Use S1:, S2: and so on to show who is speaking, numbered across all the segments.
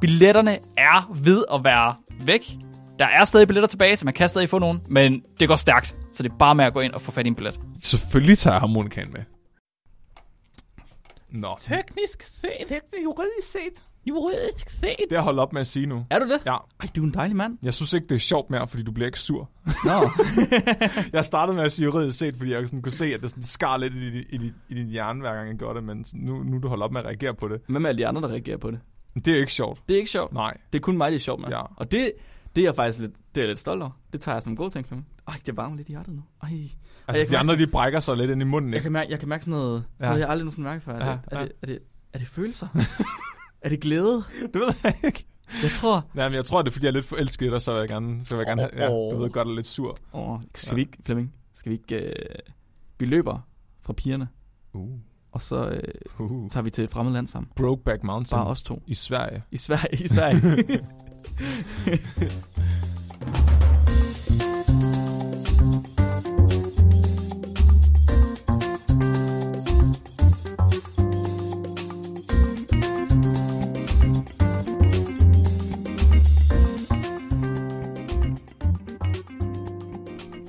S1: Billetterne er ved at være væk. Der er stadig billetter tilbage, så man kan stadig få nogen, men det går stærkt. Så det er bare med at gå ind og få fat i en billet.
S2: Selvfølgelig tager jeg harmonikaen med. Nå,
S3: Teknisk set. Teknisk, juridisk set. Juridisk set.
S2: det er holdt op med at sige nu.
S3: Er du det?
S2: Ja,
S3: Ej, du er en dejlig mand.
S2: jeg synes ikke, det er sjovt mere, fordi du bliver ikke sur.
S3: Nå.
S2: Jeg startede med at sige juridisk set, fordi jeg sådan kunne se, at det sådan skar lidt i, i, i, i din hjerne, hver gang jeg gjorde det, men sådan, nu, nu er du holdt op med at reagere på det.
S3: Hvad med alle de andre, der reagerer på det?
S2: Men det er ikke sjovt.
S3: Det er ikke sjovt.
S2: Nej.
S3: Det er kun mig, det er sjovt med.
S2: Ja.
S3: Og det, det er jeg faktisk lidt, det er jeg lidt stolt over. Det tager jeg som en god ting for mig. Ej, det varmer lidt i hjertet nu. Ej.
S2: Altså,
S3: kan
S2: de andre,
S3: mærke-
S2: de brækker sig lidt ind i munden,
S3: Jeg
S2: ikke?
S3: kan mærke, jeg kan mærke sådan noget, ja.
S2: Ja.
S3: noget jeg aldrig nogensinde mærker før.
S2: Ja,
S3: Er, det, er,
S2: ja.
S3: det, er, det, er det følelser? er det glæde?
S2: Det ved jeg ikke.
S3: Jeg tror...
S2: Nej, men jeg tror, det er, fordi jeg er lidt forelsket i dig, så vil jeg gerne, så vil jeg gerne have, ja, du ved godt, jeg er lidt sur.
S3: Åh, skal
S2: Ja.
S3: vi ikke, Flemming? Skal vi ikke... Øh, vi løber fra pigerne,
S2: Uh.
S3: og så øh,
S2: Uh.
S3: tager vi til et fremmed land sammen.
S2: Brokeback Mountain
S3: Bare os to.
S2: i Sverige.
S3: I Sverige. I Sverige.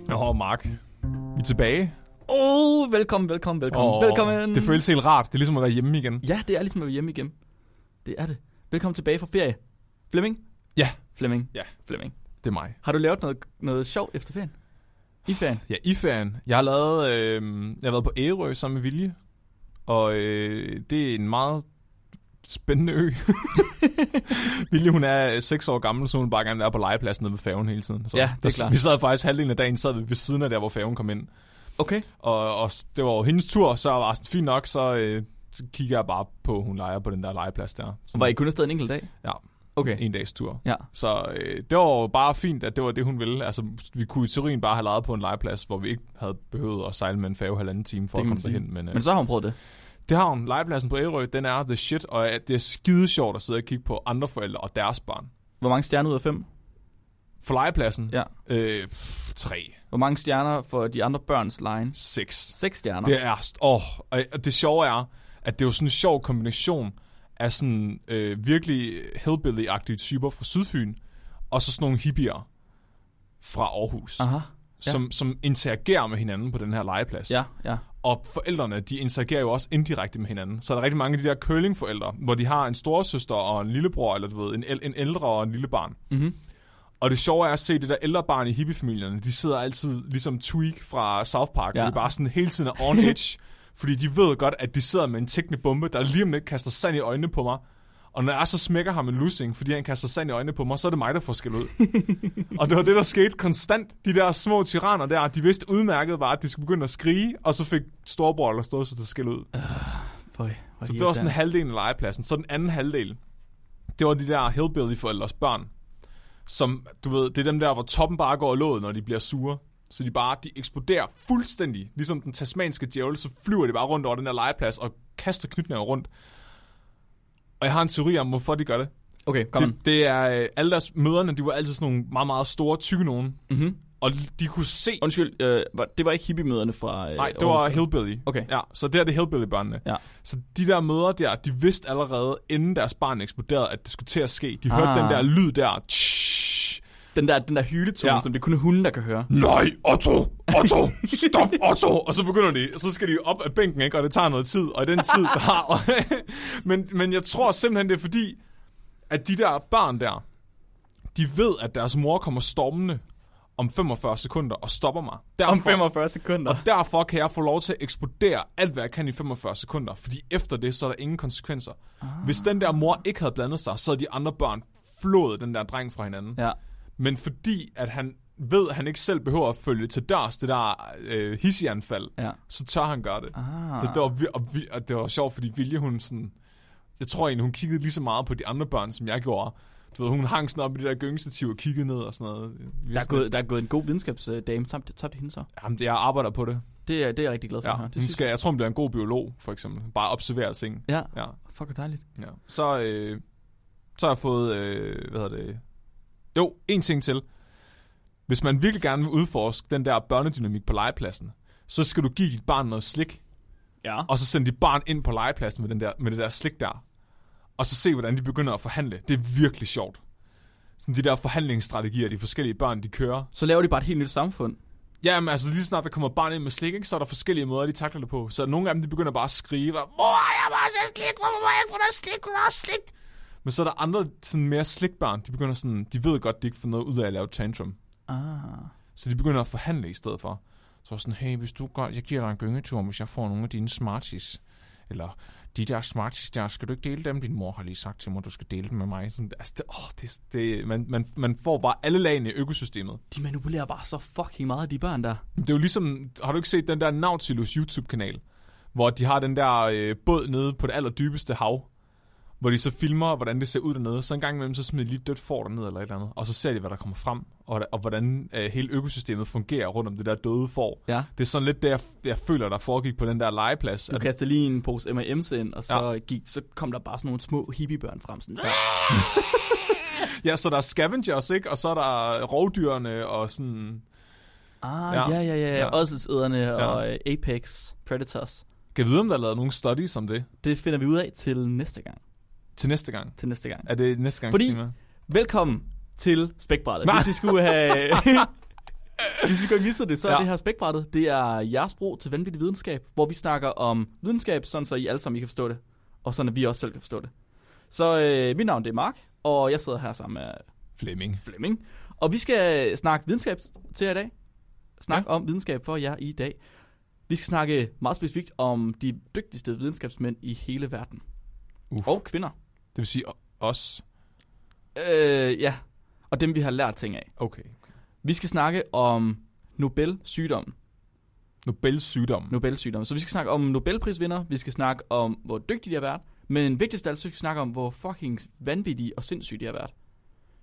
S2: Nå, Mark. Vi er tilbage.
S3: Åh, oh, velkommen, velkommen, velkommen.
S2: Og
S3: velkommen.
S2: Det føles helt rart. Det er ligesom at være hjemme igen.
S3: Ja, det er ligesom at være hjemme igen. Det er det. Velkommen tilbage fra ferie. Flemming?
S2: Ja.
S3: Flemming?
S2: Ja.
S3: Flemming.
S2: Det er mig.
S3: Har du lavet noget, noget sjovt efter ferien? I ferien?
S2: Ja, i ferien. Jeg har lavet, øh, jeg har været på Ærø sammen med Vilje, og øh, det er en meget spændende ø. Vilje, hun er øh, seks år gammel, så hun vil bare gerne være på legepladsen nede ved færgen hele tiden. Så
S3: Ja, det er
S2: der,
S3: klart.
S2: Vi sad faktisk halvdelen af dagen sad vi ved siden af der, hvor færgen kom ind.
S3: Okay.
S2: Og, og s- det var jo hendes tur, så var jeg sådan, fint nok, så, øh, så kigger jeg bare på, hun leger på den der legeplads der. Sådan
S3: Var I kun afsted en enkelt dag?
S2: Ja.
S3: Okay.
S2: en dags tur.
S3: Ja.
S2: Så øh, det var jo bare fint, at det var det, hun ville. Altså, vi kunne i teorien bare have lejet på en legeplads, hvor vi ikke havde behøvet at sejle med en færge halvanden time for
S3: Det
S2: at
S3: kan man
S2: komme
S3: sige.
S2: derhen. Men, øh,
S3: Men så har hun prøvet det.
S2: det har hun. Legepladsen på Ærø, den er the shit, og øh, det er skide sjovt at sidde og kigge på andre forældre og deres barn.
S3: Hvor mange stjerner ud af fem?
S2: For legepladsen?
S3: Ja.
S2: Øh, pff, tre,
S3: Hvor mange stjerner for de andre børns lejen?
S2: seks.
S3: Seks stjerner.
S2: Det er, st- åh, og og det sjove er, at det er jo sådan en sjov kombination af sådan øh, virkelig hillbilly-agtige typer fra Sydfyn, og så sådan nogle hippier fra Aarhus.
S3: Aha. Ja.
S2: som, som interagerer med hinanden på den her legeplads.
S3: Ja, ja.
S2: Og forældrene, de interagerer jo også indirekte med hinanden. Så er der rigtig mange af de der curlingforældre, hvor de har en storesøster og en lillebror, eller du ved, en, el- en ældre og en lille barn.
S3: Mhm.
S2: Og det sjove er at se det der ældre barn i hippiefamilierne, de sidder altid ligesom Tweak fra South Park,
S3: Ja.
S2: ja. og de er bare sådan hele tiden er on edge, fordi de ved godt, at de sidder med en tækkende bombe, der lige om lidt kaster sand i øjnene på mig. Og når jeg så smækker ham en lussing, fordi han kaster sand i øjnene på mig, så er det mig, der får skæld ud. Og det var det, der skete konstant. De der små tyranner der, de vidste udmærket var, at de skulle begynde at skrige, og så fik storebror eller stod så til skæld ud.
S3: Føj,
S2: Så det var sådan halvdelen af legepladsen. Så den anden halvdel, det var de der hillbilly-forældres børn, som, du ved, det er dem der, hvor toppen bare går af låget, når de bliver sure. Så de bare, de eksploderer fuldstændig. Ligesom den tasmanske djævel, så flyver de bare rundt over den der legeplads og kaster knytnæver rundt. Og jeg har en teori om, hvorfor de gør det.
S3: Okay, kom.
S2: Det, det er, øh, alle deres møderne, de var altid sådan nogle meget, meget store, tykke nogen.
S3: Mhm.
S2: Og de kunne se...
S3: Undskyld, øh, var- det var ikke hippiemøderne fra... Øh,
S2: Nej, det var
S3: Aarhus.
S2: Hillbilly.
S3: Okay.
S2: Ja, så der er det Hillbilly-børnene.
S3: Ja.
S2: Så de der møder der, de vidste allerede, inden deres barn eksploderede, at det skulle til at ske. De hørte
S3: Ah.
S2: den der lyd der. Tsh.
S3: Den der, den der hyletone, ja.
S2: Ja.
S3: som det kun er hunde, der kan høre.
S2: Nej, Otto! Otto! Stop, Otto! Og så begynder de, og så skal de op af bænken, ikke? og det tager noget tid, og i den tid der har... men, men jeg tror simpelthen, det er fordi, at de der børn der, de ved, at deres mor kommer stormende om 45 sekunder og stopper mig. Derfor,
S3: Om 45 sekunder.
S2: Derfor kan jeg få lov til at eksplodere alt, hvad jeg kan i 45 sekunder, fordi efter det, så er der ingen konsekvenser. Ah. Hvis den der mor ikke havde blandet sig, så havde de andre børn flået den der dreng fra hinanden.
S3: Ja.
S2: Men fordi, at han ved, at han ikke selv behøver at følge til dørs det der øh, hissianfald,
S3: Ja.
S2: så tør han gøre det.
S3: Ah.
S2: Så det var, vir- og, vi- og det var sjovt, fordi Vilje, hun sådan... Jeg tror egentlig, hun kiggede lige så meget på de andre børn, som jeg gjorde. Du ved, hun hang sådan op i det der gyngestativ og kiggede ned og sådan noget. Vi
S3: Der er,
S2: sådan-
S3: gået, der er gået en god videnskabsdame tabt, tabt hende så.
S2: Jamen, det- jeg arbejder på det.
S3: Det er, det er jeg rigtig glad for.
S2: Ja,
S3: Ja, det
S2: hun
S3: synes
S2: skal, jeg tror, hun bliver en god biolog, for eksempel. Bare observere ting.
S3: jeg. Ja,
S2: Ja,
S3: fuck hvor dejligt.
S2: ja. Så, øh, så har jeg fået, øh, hvad hedder det? Jo, en ting til. Hvis man virkelig gerne vil udforske den der børnedynamik på legepladsen, så skal du give dit barn noget slik,
S3: Ja.
S2: og så sende dit barn ind på legepladsen med, den der, med det der slik der, og så se, hvordan de begynder at forhandle. Det er virkelig sjovt. Sådan de der forhandlingsstrategier, de forskellige børn, de kører.
S3: Så laver de bare et helt nyt samfund.
S2: Ja, men altså lige snart der kommer barn ind med slik, ikke, så er der forskellige måder, de takler det på. Så nogle af dem, de begynder bare at skrige, og, Mor, jeg må også have slik, hvorfor må jeg ikke få noget slik, kunne du også slik? Men så er der andre sådan mere slikbarn, de begynder sådan, de ved godt, de ikke får noget ud af at lave tantrum.
S3: Ah.
S2: Så de begynder at forhandle i stedet for. Så er sådan, hey, hvis du går, jeg giver dig en gyngetur, hvis jeg får nogle af dine smarties. Eller de der smarties der, skal du ikke dele dem? Din mor har lige sagt til mig, du skal dele dem med mig. Sådan, altså, det, åh, det, det, man, man, man får bare alle lagene i økosystemet.
S3: De manipulerer bare så fucking meget, de børn der.
S2: Det er jo ligesom, har du ikke set den der Nautilus YouTube-kanal, hvor de har den der øh, båd nede på det allerdybeste hav, hvor de så filmer, hvordan det ser ud dernede. Så en gang imellem, så smider de lige et dødt får dernede eller et eller andet, og så ser de, hvad der kommer frem, og, og hvordan øh, hele økosystemet fungerer rundt om det der døde får.
S3: Ja.
S2: Det er sådan lidt det, jeg, jeg føler, der foregik på den der legeplads.
S3: Du
S2: at-
S3: kaster lige en pose M&M's ind, og så, gik, så kom der bare sådan nogle små hippiebørn frem. Sådan, ja.
S2: Ja, så der er scavengers, ikke? Og så er der rovdyrene og sådan...
S3: Ah,
S2: Ja.
S3: ja, ja, ja.
S2: Ja.
S3: ja. Ådselsæderne og øh, Apex Predators.
S2: Kan jeg vide, om der er lavet nogle studies om det
S3: Det finder vi ud af til næste gang.
S2: til næste gang?
S3: Til næste gang.
S2: Er det næste gangs
S3: Fordi-
S2: tema?
S3: Velkommen til spækbrættet.
S2: Hva?
S3: Hvis I skulle have... Hvis I skulle have misset det, så er
S2: Ja.
S3: ja. det her spækbrættet, det er jeres brug til vanvittig videnskab, hvor vi snakker om videnskab, sådan så I alle sammen I kan forstå det, og sådan at vi også selv kan forstå det. Så øh, mit navn det er Mark, og jeg sidder her sammen med
S2: Flemming.
S3: Flemming, og vi skal snakke videnskab til jer i dag. Snak ja. om videnskab for jer i dag. Vi skal snakke meget specifikt om de dygtigste videnskabsmænd i hele verden.
S2: Uf.
S3: Og kvinder.
S2: Det vil sige o- os.
S3: Øh, ja, og dem vi har lært ting af.
S2: Okay.
S3: Vi skal snakke om Nobel-sygdommen.
S2: Nobels sygdom.
S3: Nobel-sygdommen. Så vi skal snakke om Nobelprisvinder, vi skal snakke om, hvor dygtige de har været, men vigtigst af alt, så skal vi snakke om, hvor fucking vanvittige og sindssyge de har været.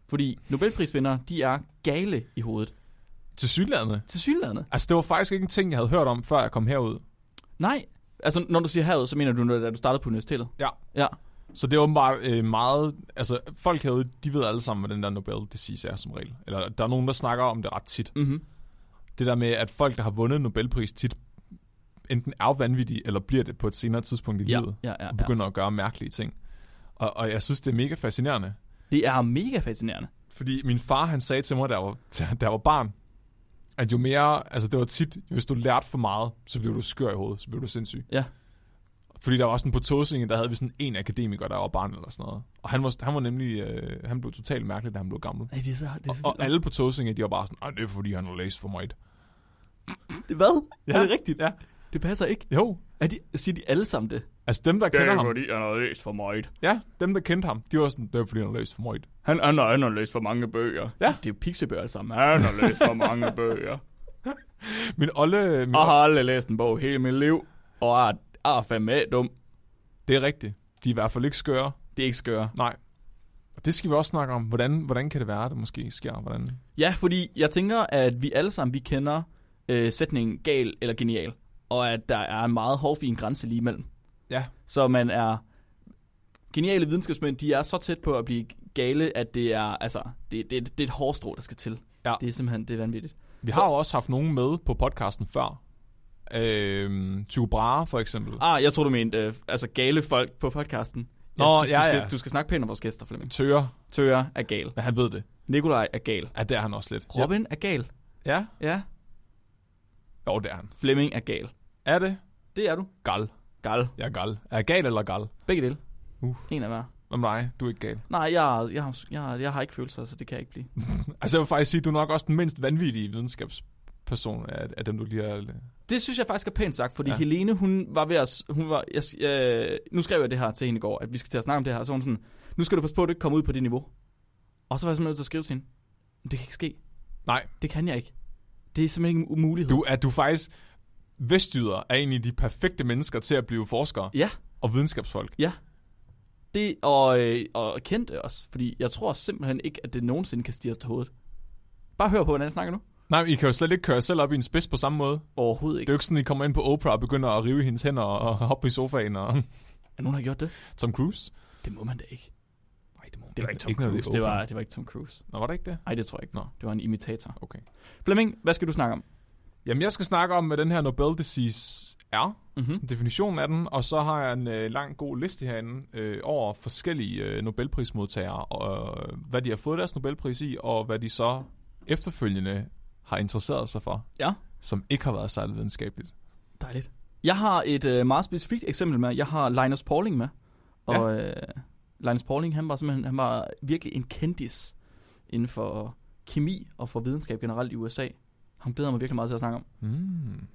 S3: Fordi Nobelprisvinder, de er gale i hovedet.
S2: Til syglandene.
S3: Til synlædende.
S2: Altså, det var faktisk ikke en ting, jeg havde hørt om, før jeg kom herud.
S3: Nej. Altså, når du siger herud, så mener du, da du startede på universitetet?
S2: Ja.
S3: Ja.
S2: Så det er åbenbart øh, meget... Altså, folk herude, de ved alle sammen, hvad den der Nobel disease er som regel. Eller der er nogen, der snakker om det ret tit.
S3: Mm-hmm.
S2: Det der med, at folk, der har vundet en Nobelpris, tit enten er vanvittige, eller bliver det på et senere tidspunkt i
S3: Ja,
S2: livet.
S3: ja, ja,
S2: Og
S3: ja.
S2: begynder at gøre mærkelige ting. Og, og jeg synes, det er mega fascinerende.
S3: Det er mega fascinerende.
S2: Fordi min far, han sagde til mig, da jeg var, da jeg var barn, at jo mere, altså det var tit, hvis du lærte for meget, så blev du skør i hovedet, så blev du sindssyg.
S3: Ja.
S2: Fordi der var sådan på Tåsinge, der havde vi sådan en akademiker, der var barn eller sådan noget. Og han var, han var nemlig, øh, han blev totalt mærkelig, da han blev gammel.
S3: Ej, det er så... Det er så
S2: Og, og alle på Tåsinge, de var bare sådan, "Ej, det er fordi, han har læst for meget.
S3: Hvad?
S2: Ja.
S3: Ja. Er det rigtigt?
S2: Ja.
S3: Det passer ikke.
S2: Jo,
S3: Er de, siger de alle sammen det?
S2: altså dem, der kender ham,
S3: fordi, han har læst for meget.
S2: ja, dem, der kendte ham, de var sådan, det er fordi, han har læst for meget.
S3: Han, han, har, han har læst for mange bøger.
S2: Ja.
S3: Det er jo piksebøger alle sammen. Han har læst for mange bøger.
S2: Min olle, min,
S3: Og har aldrig læst en bog hele mit liv. Og er, er fandme dum.
S2: det er rigtigt. De er i hvert fald ikke skøre.
S3: Det er ikke skøre.
S2: Nej. Og det skal vi også snakke om. Hvordan, hvordan kan det være, at det måske sker? Hvordan,
S3: Ja, fordi jeg tænker, at vi alle sammen, vi kender øh, sætningen gal eller genial. Og at der er en meget hårfin grænse lige imellem.
S2: Ja.
S3: Så man er... Geniale videnskabsmænd, de er så tæt på at blive gale, at det er, altså, det, det, det er et hårstrå, der skal til.
S2: Ja.
S3: Det er simpelthen, det er vanvittigt.
S2: Vi har jo også haft nogen med på podcasten før. Øhm, Tycho Brahe for eksempel.
S3: Ah, jeg tror du mente øh, altså gale folk på podcasten.
S2: Nå,
S3: Jeg synes,
S2: ja,
S3: du, skal,
S2: ja.
S3: du skal snakke pænt om vores gæster, Flemming.
S2: Tøger,
S3: Tøger er gal.
S2: men han ved det.
S3: Nikolaj er gal.
S2: Ja, det er han også lidt.
S3: Robin er gal.
S2: Ja. ja.
S3: Ja.
S2: Jo, det er han.
S3: Flemming er gal.
S2: Er det?
S3: Det er du.
S2: Gal.
S3: Gal.
S2: Jeg er gal. Er jeg gal eller gal?
S3: Begge dele.
S2: Uh.
S3: En af hver.
S2: Om dig, du er ikke gal.
S3: Nej, jeg, jeg, har- jeg, har- jeg har ikke følelser, så det kan jeg ikke blive.
S2: Altså jeg vil faktisk sige, du er nok også den mindst vanvittige videnskabsperson af, af dem, du lige har...
S3: Det synes jeg faktisk er pænt sagt, fordi
S2: Ja.
S3: ja. Helene, hun var ved at... Hun var, jeg, øh, nu skrev jeg det her til hende i går, at vi skal til at snakke om det her. Så var hun sådan, nu skal du passe på, at du ikke kommer ud på det niveau. Og så var jeg simpelthen nødt til at skrive til hende. "Men Det kan ikke ske.
S2: Nej.
S3: Det kan jeg ikke. Det er simpelthen ikke en umulighed.
S2: Du er du er faktisk... Vestjyder er egentlig de perfekte mennesker til at blive forskere
S3: Ja,
S2: og videnskabsfolk.
S3: ja. Det, og, øh, og kendte også, fordi jeg tror simpelthen ikke, at det nogensinde kan stiges til hovedet. Bare hør på, hvordan jeg snakker nu.
S2: Nej, men I kan jo slet ikke køre jer selv op i en spids på samme måde.
S3: Overhovedet
S2: Det er
S3: ikke.
S2: jo ikke sådan, I kommer ind på Oprah og begynder at rive i hendes hænder og og hoppe i sofaen og
S3: Er nogen, der har gjort det?
S2: Tom Cruise.
S3: Det må man da ikke.
S2: Nej, det må
S3: Det var ikke Tom Cruise. Det var, det var ikke Tom Cruise.
S2: Nå, var det ikke det?
S3: Nej, det tror jeg ikke.
S2: Nå.
S3: Det var en imitator.
S2: Okay.
S3: Flemming, hvad skal du snakke om?
S2: Jamen, jeg skal snakke om, hvad den her Nobel Disease er.
S3: Mhm.
S2: Mm. Definitionen af den. Og så har jeg en øh, lang god liste herinde øh, over forskellige øh, Nobelprismodtagere. Og øh, hvad de har fået deres Nobelpris i, og hvad de så efterfølgende har interesseret sig for.
S3: Ja.
S2: Som ikke har været særlig videnskabeligt.
S3: Dejligt. Jeg har et øh, meget specifikt eksempel med. Jeg har Linus Pauling med. Og ja. øh, Linus Pauling, han var simpelthen han var virkelig en kendis inden for kemi og for videnskab generelt i USA. Han glæder jeg mig virkelig meget til at snakke om.
S2: Mm.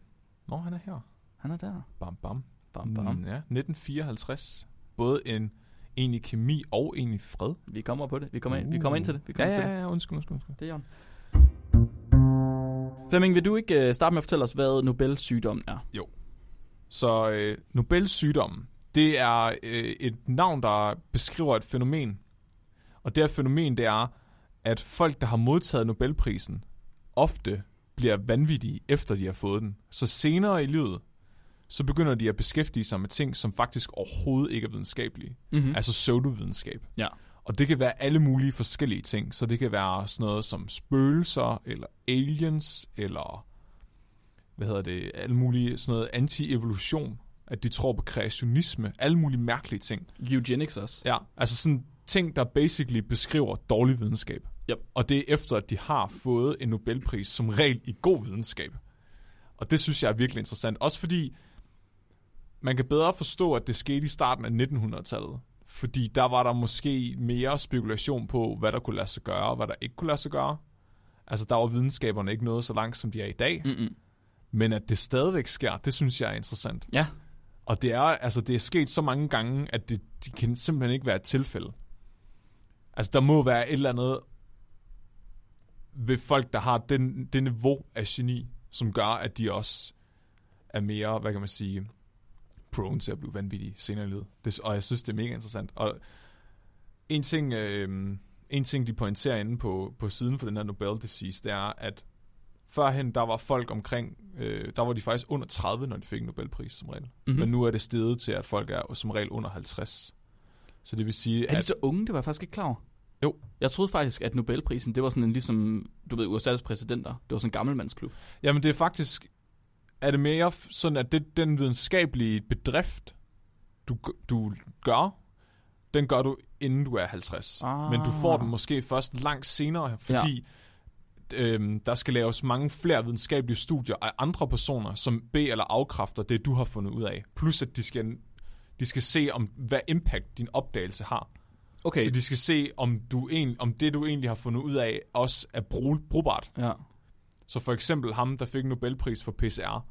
S2: Nå, han er her.
S3: Han er der.
S2: Bam, bam.
S3: Bam, bam.
S2: Mm, ja, 1954. Både en egentlig kemi og egentlig fred.
S3: Vi kommer på det. Vi kommer, ind. Vi kommer ind til det. Vi
S2: Uh. Ja,
S3: kommer til
S2: ja,
S3: det.
S2: ja, undskyld, undskyld. undskyld.
S3: Det er Jørgen. Flemming, vil du ikke øh, starte med at fortælle os, hvad Nobel-sygdommen er?
S2: Så øh, Nobels sygdom, det er øh, et navn, der beskriver et fænomen. Og det her fænomen, det er, at folk, der har modtaget Nobelprisen, ofte bliver vanvittige, efter de har fået den. Så senere i livet, så begynder de at beskæftige sig med ting, som faktisk overhovedet ikke er videnskabelige.
S3: Mm-hmm.
S2: Altså pseudovidenskab.
S3: Ja.
S2: Og det kan være alle mulige forskellige ting. Så det kan være sådan noget som spøgelser, eller aliens, eller hvad hedder det, alle mulige sådan noget anti-evolution. At de tror på kreationisme. Alle mulige mærkelige ting.
S3: Eugenics også.
S2: Ja. Altså sådan ting, der basically beskriver dårlig videnskab.
S3: Yep.
S2: Og det er efter, at de har fået en Nobelpris som regel i god videnskab. Og det synes jeg er virkelig interessant. Også fordi man kan bedre forstå, at det skete i starten af 1900-tallet. Fordi der var der måske mere spekulation på, hvad der kunne lade sig gøre, og hvad der ikke kunne lade sig gøre. Altså, der var videnskaberne ikke nået så langt, som de er i dag.
S3: Mm-mm.
S2: Men at det stadigvæk sker, det synes jeg er interessant.
S3: Ja.
S2: Og det er, altså, det er sket så mange gange, at det, det kan simpelthen ikke være et tilfælde. Altså, der må være et eller andet ved folk, der har den, det niveau af geni, som gør, at de også er mere, hvad kan man sige, prone til at blive vanvittige senere i livet. Det, og jeg synes, det er mega interessant. Og en ting, øh, en ting de pointerer inde på, på siden for den her Nobel Disease, det er, at førhen, der var folk omkring, øh, der var de faktisk under 30, når de fik en Nobelpris som regel.
S3: Mm-hmm.
S2: Mm. Men nu er det steget til, at folk er som regel under 50. Så det vil sige,
S3: Er de
S2: at...
S3: så unge? Det var jeg faktisk ikke klar over.
S2: Jo.
S3: Jeg troede faktisk, at Nobelprisen, det var sådan en ligesom, du ved, USA's præsidenter. Det var sådan en gammelmandsklub.
S2: Jamen det er faktisk... Er det mere f- sådan, at det, den videnskabelige bedrift, du, g- du gør, den gør du inden du er 50.
S3: Ah.
S2: Men du får den måske først langt senere, fordi ja. øhm, der skal laves mange flere videnskabelige studier af andre personer, som B eller afkræfter det, du har fundet ud af. Plus at de skal, de skal se, om hvad impact din opdagelse har. Okay. Så de skal se, om, du en, om det, du egentlig har fundet ud af, også er brug, brugbart.
S3: Ja.
S2: Så for eksempel ham, der fik Nobelpris for PCR,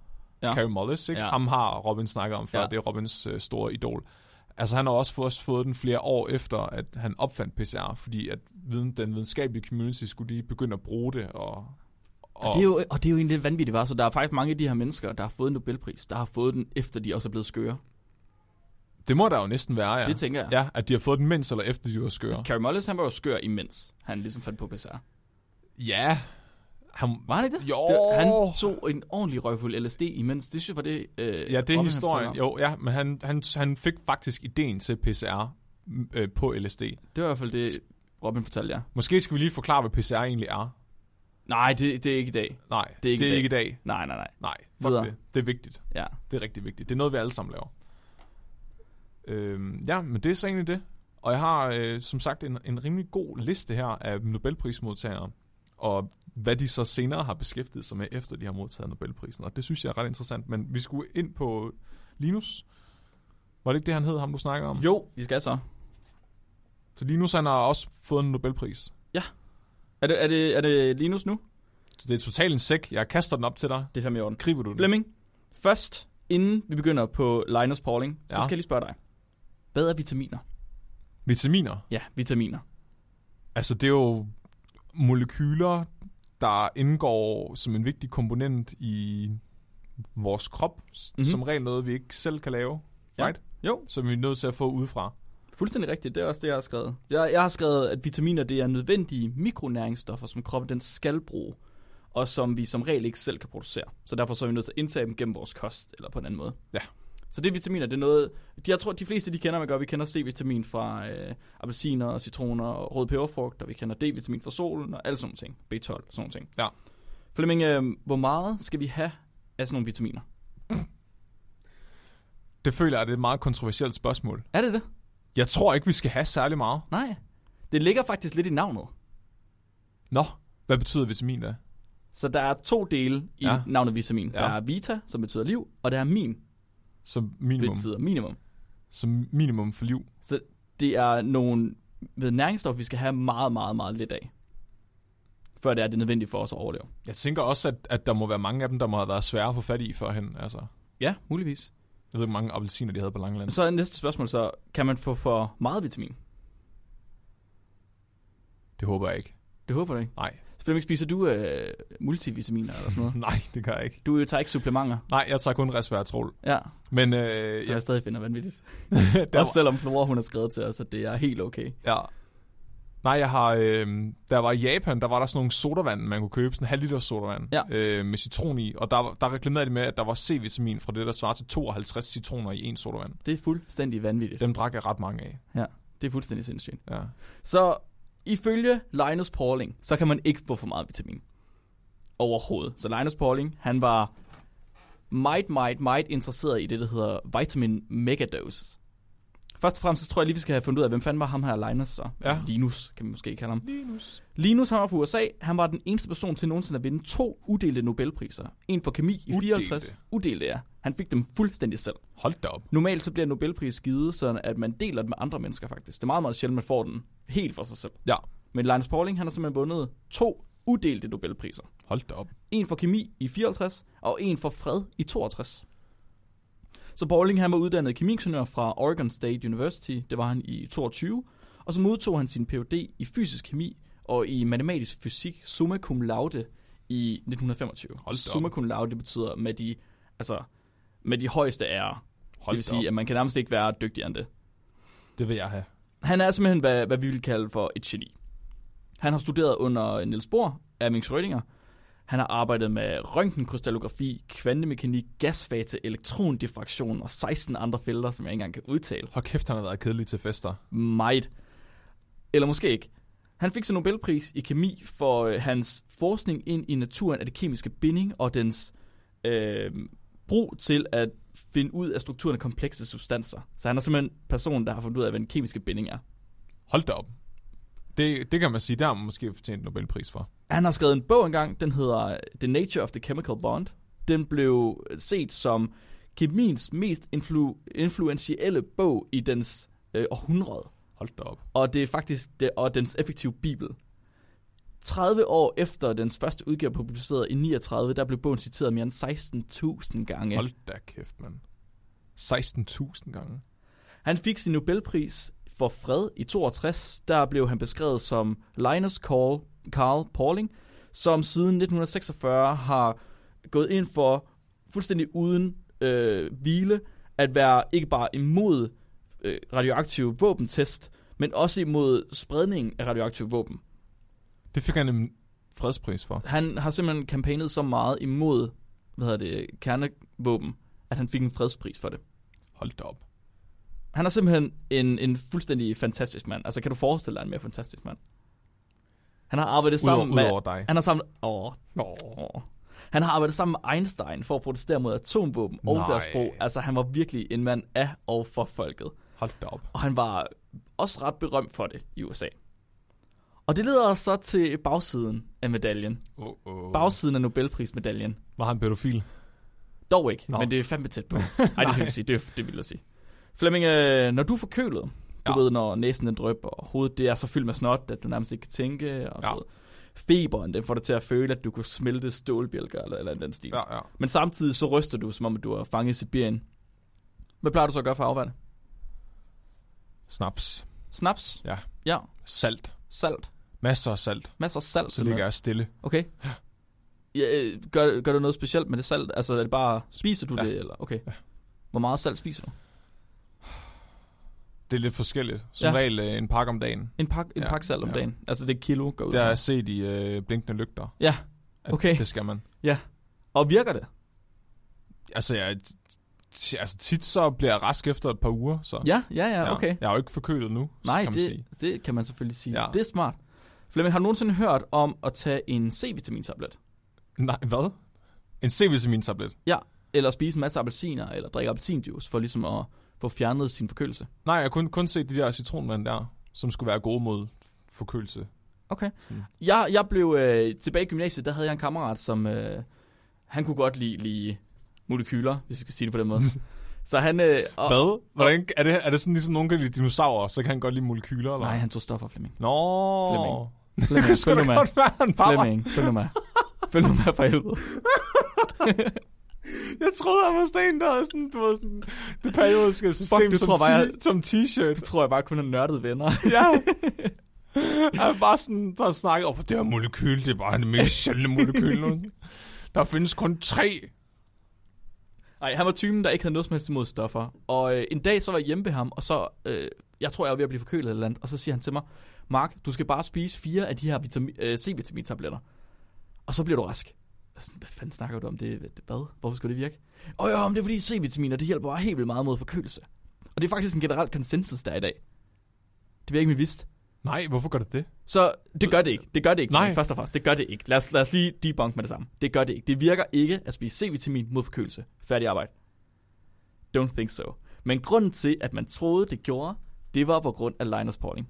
S3: Ja.
S2: ja. Carey Mullis, ikke?
S3: Ja.
S2: Ja. ham har Robin snakket om før,
S3: Ja.
S2: ja. det er Robins øh, store idol. Altså han har også fået, også fået den flere år efter, at han opfandt PCR, fordi at viden, den videnskabelige community skulle lige begynde at bruge det. Og,
S3: Og,
S2: og
S3: det er jo, og det er jo egentlig lidt vanvittigt, var. Så der er faktisk mange af de her mennesker, der har fået en Nobelpris, der har fået den, efter de også er blevet skøre.
S2: det må der jo næsten være, ja.
S3: Det tænker jeg.
S2: ja, at de har fået den mens eller efter, de var skøre.
S3: Carey Mullis, han var jo skør imens han ligesom fandt på PCR.
S2: Ja. Han,
S3: Var han ikke det?
S2: Jo.
S3: det han tog en ordentlig røgfuld LSD imens. Det synes jeg var det... Øh,
S2: ja, det er
S3: Robin,
S2: historien.
S3: han fortalte om.
S2: Jo, ja, men han, han, han fik faktisk ideen til PCR øh, på LSD.
S3: Det var i hvert fald det, Robin fortalte jer.
S2: Måske skal vi lige forklare, hvad PCR egentlig er.
S3: Nej, det, det er ikke i dag.
S2: Nej,
S3: Det er ikke i dag.
S2: ikke i dag.
S3: Nej, nej, nej.
S2: Nej, fuck
S3: Videre.
S2: det. Det er vigtigt.
S3: Ja.
S2: Det er rigtig vigtigt. Det er noget, vi alle sammen laver. Øhm, ja, men det er så egentlig det. Og jeg har øh, som sagt en, en rimelig god liste her af Nobelprismodtagere, og hvad de så senere har beskæftiget sig med, efter de har modtaget Nobelprisen. Og det synes jeg er ret interessant. Men vi skulle ind på Linus. Var det ikke det, han hed, ham du snakkede om?
S3: Jo, vi skal så.
S2: Så Linus, han har også fået en Nobelpris.
S3: Er det, er det, er det Linus nu?
S2: Så det er totalt en sæk. Jeg kaster den op til dig.
S3: Det er fandme i orden.
S2: Griber du den?
S3: Flemming, først, inden vi begynder på Linus Pauling, ja. så
S2: Ja.
S3: skal jeg lige spørge dig. Hvad er vitaminer?
S2: Vitaminer.
S3: Ja, vitaminer.
S2: Altså, det er jo molekyler, der indgår som en vigtig komponent i vores krop. Mm-hmm.
S3: Mhm.
S2: Som regel noget, vi ikke selv kan lave,
S3: Ja.
S2: right?
S3: Jo.
S2: Som vi er nødt til at få udefra.
S3: Fuldstændig rigtigt, det er også det, jeg har skrevet. Jeg, jeg har skrevet, at vitaminer det er nødvendige mikronæringsstoffer, som kroppen den skal bruge, og som vi som regel ikke selv kan producere. Så derfor så er vi nødt til at indtage dem gennem vores kost, eller på en anden måde.
S2: Ja.
S3: Så det er vitaminer, det er noget, de- jeg tror, de fleste de kender, man gør, vi kender C-vitamin fra øh, appelsiner, og citroner og rød peberfrugt, og vi kender D-vitamin fra solen, og alle sådan nogle ting. B12, sådan nogle ting.
S2: Ja.
S3: Flemming, øh, hvor meget skal vi have af sådan nogle vitaminer?
S2: Det føler jeg, det er et meget kontroversielt spørgsmål.
S3: Er det det?
S2: Jeg tror ikke, vi skal have særlig meget.
S3: Nej. Det ligger faktisk lidt i navnet.
S2: Nå, hvad betyder vitamin da?
S3: Så der er to dele i
S2: Ja.
S3: ja. navnet vitamin. Ja. Der
S2: Ja.
S3: er vita, som betyder liv, og der er min,
S2: Som
S3: det
S2: minimum.
S3: betyder minimum.
S2: Som minimum for liv.
S3: Så det er nogle ved næringsstof, vi skal have meget, meget, meget lidt af. Før det er det nødvendigt for os at overleve.
S2: Jeg tænker også, at, at der må være mange af dem, der må have været svære at få fat i førhen. Altså,
S3: Ja, muligvis.
S2: jeg ved ikke, hvor mange appelsiner de havde på Langeland.
S3: Så er næste spørgsmål så, kan man få for meget vitamin?
S2: Det håber jeg ikke.
S3: Det håber jeg ikke.
S2: Nej,
S3: Flemming, spiser du øh, multivitaminer eller sådan noget?
S2: nej, det gør jeg ikke.
S3: Du øh, tager ikke supplementer.
S2: Nej, jeg tager kun resveratrol.
S3: Ja,
S2: Men øh,
S3: så
S2: ja,
S3: jeg stadig finder vanvittigt.
S2: der,
S3: Også selvom Flora, hun har skrevet til os, at det er helt okay.
S2: Ja. Nej, jeg har... Øh, der var i Japan, der var der sådan nogle sodavand, man kunne købe. Sådan en halv liter sodavand
S3: Ja.
S2: øh, med citron i. Og der, der reklamerede de med, at der var C-vitamin fra det, der svarer til 52 citroner i en sodavand.
S3: Det er fuldstændig vanvittigt.
S2: Dem drak jeg ret mange af.
S3: Det er fuldstændig sindssygt.
S2: Ja.
S3: Så ifølge Linus Pauling, så kan man ikke få for meget vitamin. Overhovedet. Så Linus Pauling, han var meget, meget, meget interesseret i det, der hedder vitamin megadose. Først og fremmest så tror jeg lige, vi skal have fundet ud af, hvem fanden var ham her Linus så?
S2: Ja.
S3: Linus, kan man måske kalde ham. Linus. Linus, han var fra USA. Han var den eneste person til nogensinde at vinde to uddelte Nobelpriser. En for kemi i
S2: Uddelte?
S3: 54. Uddelte, ja. Han fik dem fuldstændig selv.
S2: Hold da op.
S3: Normalt så bliver en Nobelpris givet, sådan at man deler den med andre mennesker faktisk. Det er meget, meget sjældent, man får den helt for sig selv.
S2: Ja.
S3: Men Linus Pauling, han har simpelthen vundet to uddelte Nobelpriser.
S2: Hold da op.
S3: En for kemi i 54, og en for fred i 62. Så Pauling, han var uddannet kemiingeniør fra Oregon State University, det var han i 22, og så modtog han sin Ph.D. i fysisk kemi og i matematisk fysik summa cum laude i 1925.
S2: Hold da op.
S3: summa cum laude det betyder med de, altså, med de højeste ærer.
S2: Hold
S3: det vil
S2: da op.
S3: sige, at man kan nærmest ikke være dygtigere end det.
S2: Det vil jeg have.
S3: Han er simpelthen, hvad, hvad vi vil kalde for et geni. Han har studeret under Niels Bohr, Erwin Schrödinger. Han har arbejdet med røntgenkrystallografi, kvantemekanik, gasfase, elektrondiffraktion og 16 andre felter, som jeg ikke engang kan udtale.
S2: Hold kæft, han har været kedelig til fester.
S3: Meget. Eller måske ikke. Han fik så Nobelpris i kemi for øh, hans forskning ind i naturen af det kemiske binding og dens øh, brug til at finde ud af strukturen af komplekse substanser. Så han er simpelthen personen, der har fundet ud af, hvad den kemiske binding er.
S2: Hold da op. Det, det kan man sige, der har man måske fortjent en Nobelpris for.
S3: Han har skrevet en bog engang, den hedder øh, The Nature of the Chemical Bond. Den blev øh, set som kemiens mest influ- influentielle bog i dens øh, århundrede.
S2: Hold da op.
S3: Og det er faktisk det, og dens effektive bibel. 30 år efter dens første udgave blev publiceret i 39, der blev bogen citeret mere end 16.000 gange.
S2: Hold da kæft, mand. 16.000 gange.
S3: Han fik sin Nobelpris for fred i 62. Der blev han beskrevet som Linus Carl, Carl Pauling, som siden 1946 har gået ind for fuldstændig uden øh, hvile at være ikke bare imod øh, radioaktive våbentest, men også imod spredningen af radioaktive våben.
S2: Det fik han en fredspris for.
S3: Han har simpelthen kampagnet så meget imod hvad hedder det, kernevåben, at han fik en fredspris for det.
S2: Hold da op.
S3: Han er simpelthen en, en fuldstændig fantastisk mand. Altså, kan du forestille dig en mere fantastisk mand? Han har arbejdet sammen
S2: Udover,
S3: med...
S2: udover dig.
S3: Han har sammen... Åh, åh. Han har arbejdet sammen med Einstein for at protestere mod atomvåben og
S2: Nej.
S3: deres brug. Altså, han var virkelig en mand af og for folket.
S2: Hold da op.
S3: Og han var også ret berømt for det i USA. Og det leder os så til bagsiden af medaljen.
S2: Oh, oh.
S3: Bagsiden af Nobelprismedaljen.
S2: Var han pædofil?
S3: Dog ikke,
S2: Nå.
S3: Nå. men det er fandme tæt på. Ej, det skal jeg sige. Det, er- det vil jeg sige. Flemming, øh, når du er forkølet, du
S2: Ja.
S3: ja. ved, når næsen den drøber, og hovedet det er så fyldt med snot, at du nærmest ikke kan tænke, og
S2: Ja.
S3: ja. feberen, den får dig til at føle, at du kunne smelte stålbjælker eller, eller den stil. Ja.
S2: Ja, ja.
S3: Men samtidig så ryster du, som om at du er fanget i Sibirien. Hvad plejer du så at gøre for at afværge det?
S2: Snaps.
S3: Snaps?
S2: Ja.
S3: Ja.
S2: Salt.
S3: Salt?
S2: Masser af salt.
S3: Masser af salt?
S2: Så
S3: eller
S2: ligger
S3: hvad?
S2: jeg stille.
S3: Okay. Ja, øh, gør, gør du noget specielt med det salt? Altså, er det bare, spiser du
S2: Ja.
S3: det, eller? Okay. Hvor meget salt spiser du?
S2: Det er lidt forskelligt. Som ja.
S3: Ja.
S2: regel øh, en pakke om dagen.
S3: En, pak, en
S2: Ja,
S3: ja, pakke salt om
S2: ja.
S3: dagen. Altså det er kilo går ud.
S2: Det har
S3: fra.
S2: jeg set i øh, blinkende lygter.
S3: Ja,
S2: at
S3: okay.
S2: Det skal man.
S3: Og virker det?
S2: Altså, jeg, t- altså tit så bliver jeg rask efter et par uger. Så.
S3: Ja, ja, ja, okay.
S2: Jeg er jo ikke forkølet nu,
S3: Nej,
S2: kan man
S3: det,
S2: sige.
S3: det kan man selvfølgelig sige.
S2: Ja.
S3: Ja. Det er smart. Flemming, har du nogensinde hørt om at tage en C-vitamintablet?
S2: Nej, hvad? En C-vitamin-tablet?
S3: Eller spise en masse appelsiner, eller drikke appelsinjuice, for ligesom at få fjernet sin forkølelse?
S2: Nej, jeg kunne kun se de der citronvand der, som skulle være gode mod forkølelse.
S3: Okay.
S2: Sådan.
S3: Jeg, jeg blev øh, tilbage i gymnasiet, der havde jeg en kammerat, som øh, han kunne godt lide, lide molekyler, hvis vi kan sige det på den måde. Så han... Øh, og,
S2: Hvad? Hvordan, er, det, er det sådan ligesom nogen kan lide dinosaurer, så kan han godt lide molekyler? Eller?
S3: Nej, han tog stoffer, Flemming.
S2: Nå.
S3: Flemming.
S2: Det
S3: Flemming,
S2: kunne sgu
S3: følg nu
S2: da
S3: med.
S2: godt være, han bare var,
S3: Flemming, følg nu med. Følg nu med for helvede.
S2: Jeg troede, han var sten, der havde sådan, du ved, sådan det periodiske system
S3: du
S2: som,
S3: tror bare,
S2: ti-
S3: jeg-
S2: som t-shirt.
S3: Det tror jeg bare kun er nørdede venner.
S2: ja. Han var bare sådan, der snakkede om, det her molekyl, det er bare det mest sjældne molekyl. nogensinde. der findes kun tre.
S3: Nej, han var typen, der ikke havde noget som helst imod stoffer. Og øh, en dag, så var jeg hjemme ved ham, og så, øh, jeg tror, jeg var ved at blive forkølet eller andet, og så siger han til mig, Mark, du skal bare spise fire af de her vitami- øh, C-vitamintabletter, og så bliver du rask. Jeg er Sådan, hvad fanden snakker du om det? det hvad? Hvorfor skulle det virke? Åh ja, men det er fordi C-vitaminer, det hjælper bare helt vildt meget mod forkølelse. Og det er faktisk en generel konsensus, der er i dag. Det vil jeg ikke, vi vidste.
S2: Nej, hvorfor gør det det?
S3: Så det gør det ikke. Det gør det ikke.
S2: Nej.
S3: Nej. Først og fremmest, det gør det ikke. Lad os, lad os lige debunk med det samme. Det gør det ikke. Det virker ikke at spise C-vitamin mod forkølelse. Færdig arbejde. Don't think so. Men grunden til, at man troede, det gjorde, det var på grund af Linus Pauling.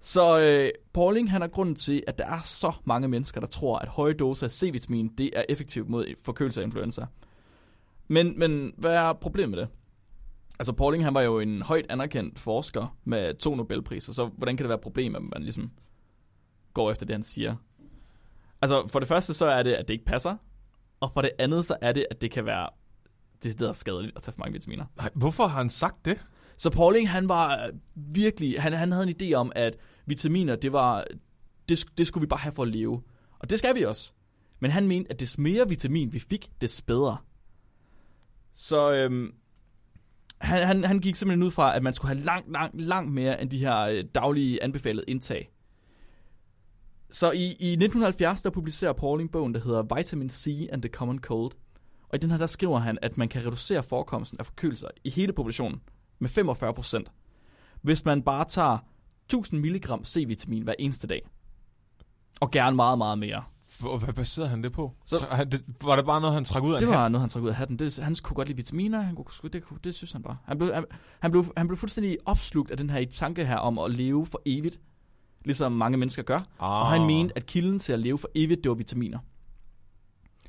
S3: Så øh, Pauling, han er grunden til, at der er så mange mennesker, der tror, at høje doser af C-vitamin, det er effektivt mod forkølelse af influenza. Men, men hvad er problemet med det? Altså Pauling, han var jo en højt anerkendt forsker med to Nobelpriser, så hvordan kan det være et problem, at man ligesom går efter det, han siger? Altså for det første så er det, at det ikke passer, og for det andet så er det, at det kan være det er skadeligt at tage for mange vitaminer.
S2: Nej, hvorfor har han sagt det?
S3: Så Pauling, han var øh, virkelig, han, han havde en idé om, at vitaminer, det var, det, sk- det skulle vi bare have for at leve. Og det skal vi også. Men han mente, at des mere vitamin vi fik, des bedre. Så øhm, han, han, han gik simpelthen ud fra, at man skulle have langt, langt, langt mere end de her øh, daglige anbefalede indtag. Så i, i 1970, der publicerer Pauling bogen, der hedder Vitamin C and the Common Cold. Og i den her, der skriver han, at man kan reducere forekomsten af forkølelser i hele populationen med 45 hvis man bare tager 1000 mg C-vitamin hver eneste dag. Og gerne meget, meget mere.
S2: Hvor- Hvad baserede han det på?
S3: Så-
S2: Så, han, det, var det bare noget, han trak ud af
S3: Det
S2: en
S3: var noget, han trak ud af hatten. Det, han kunne godt lide vitaminer, han kunne, sgu- det, kunne, det synes han bare. Han blev, han, han, blev, han blev fuldstændig opslugt af den her tanke her om at leve for evigt, ligesom mange mennesker gør.
S2: Ah.
S3: Og han mente, at kilden til at leve for evigt, det var vitaminer.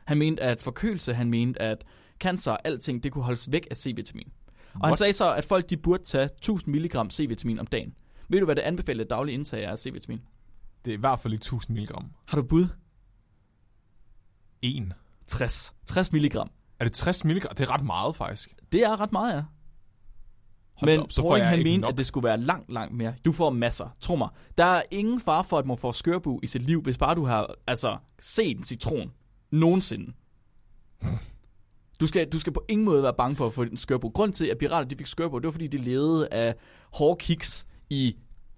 S3: Han mente, at forkølelse, han mente, at cancer og alting, det kunne holdes væk af C-vitamin. Og han
S2: What?
S3: sagde så, at folk de burde tage 1000 mg C-vitamin om dagen. Ved du, hvad det anbefalede daglige indtag er af C-vitamin?
S2: Det er i hvert fald ikke 1000 mg.
S3: Har du et bud?
S2: En.
S3: 60. 60 mg.
S2: Er det 60 mg? Det er ret meget, faktisk.
S3: Det er ret meget, ja.
S2: Hold da
S3: Men
S2: op, så får
S3: Pauling,
S2: jeg
S3: han
S2: ikke
S3: mente,
S2: nok.
S3: at det skulle være langt, langt mere. Du får masser, tro mig. Der er ingen far for, at man får skørbu i sit liv, hvis bare du har altså, set en citron. Nogensinde. Du skal, du skal på ingen måde være bange for at få en skørbo. Grund til, at pirater de fik skørbo, det var fordi, de levede af hårde kiks i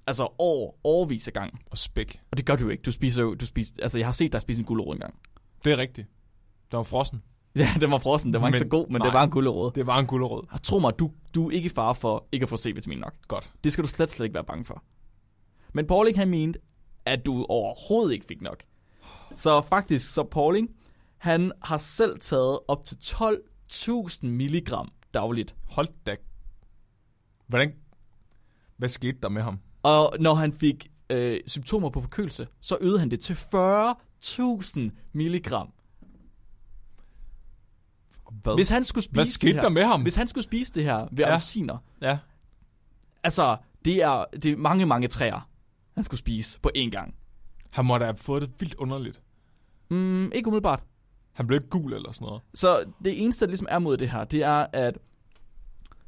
S3: altså år, årvis af gang.
S2: Og spæk.
S3: Og det gør du jo ikke. Du spiser jo, du spiser, altså jeg har set dig spise en gulerod engang.
S2: Det er rigtigt. Der var frossen.
S3: Ja, den var frossen, den var ikke
S2: Men-
S3: så god, men
S2: nej.
S3: det var en gulerod.
S2: Det var en gulerod.
S3: Og tro mig, du, du er ikke i fare for ikke at få C-vitamin nok.
S2: Godt.
S3: Det skal du slet, slet ikke være bange for. Men Pauling han mente, at du overhovedet ikke fik nok. Så faktisk, så Pauling, han har selv taget op til 12.000 milligram dagligt.
S2: Hold da. Hvordan... Hvad skete der med ham?
S3: Og når han fik øh, symptomer på forkølelse, så øgede han det til 40.000 milligram.
S2: Hvad,
S3: Hvis han skulle spise
S2: hvad
S3: det
S2: skete
S3: her,
S2: der med ham?
S3: Hvis han skulle spise det her ved
S2: Ja.
S3: ja. appelsiner,
S2: Ja.
S3: altså, det er, det er mange, mange træer, han skulle spise på én gang.
S2: Han måtte have fået det vildt underligt.
S3: Mm, ikke umiddelbart.
S2: Han blev ikke gul eller sådan noget.
S3: Så det eneste, der ligesom er mod det her, det er, at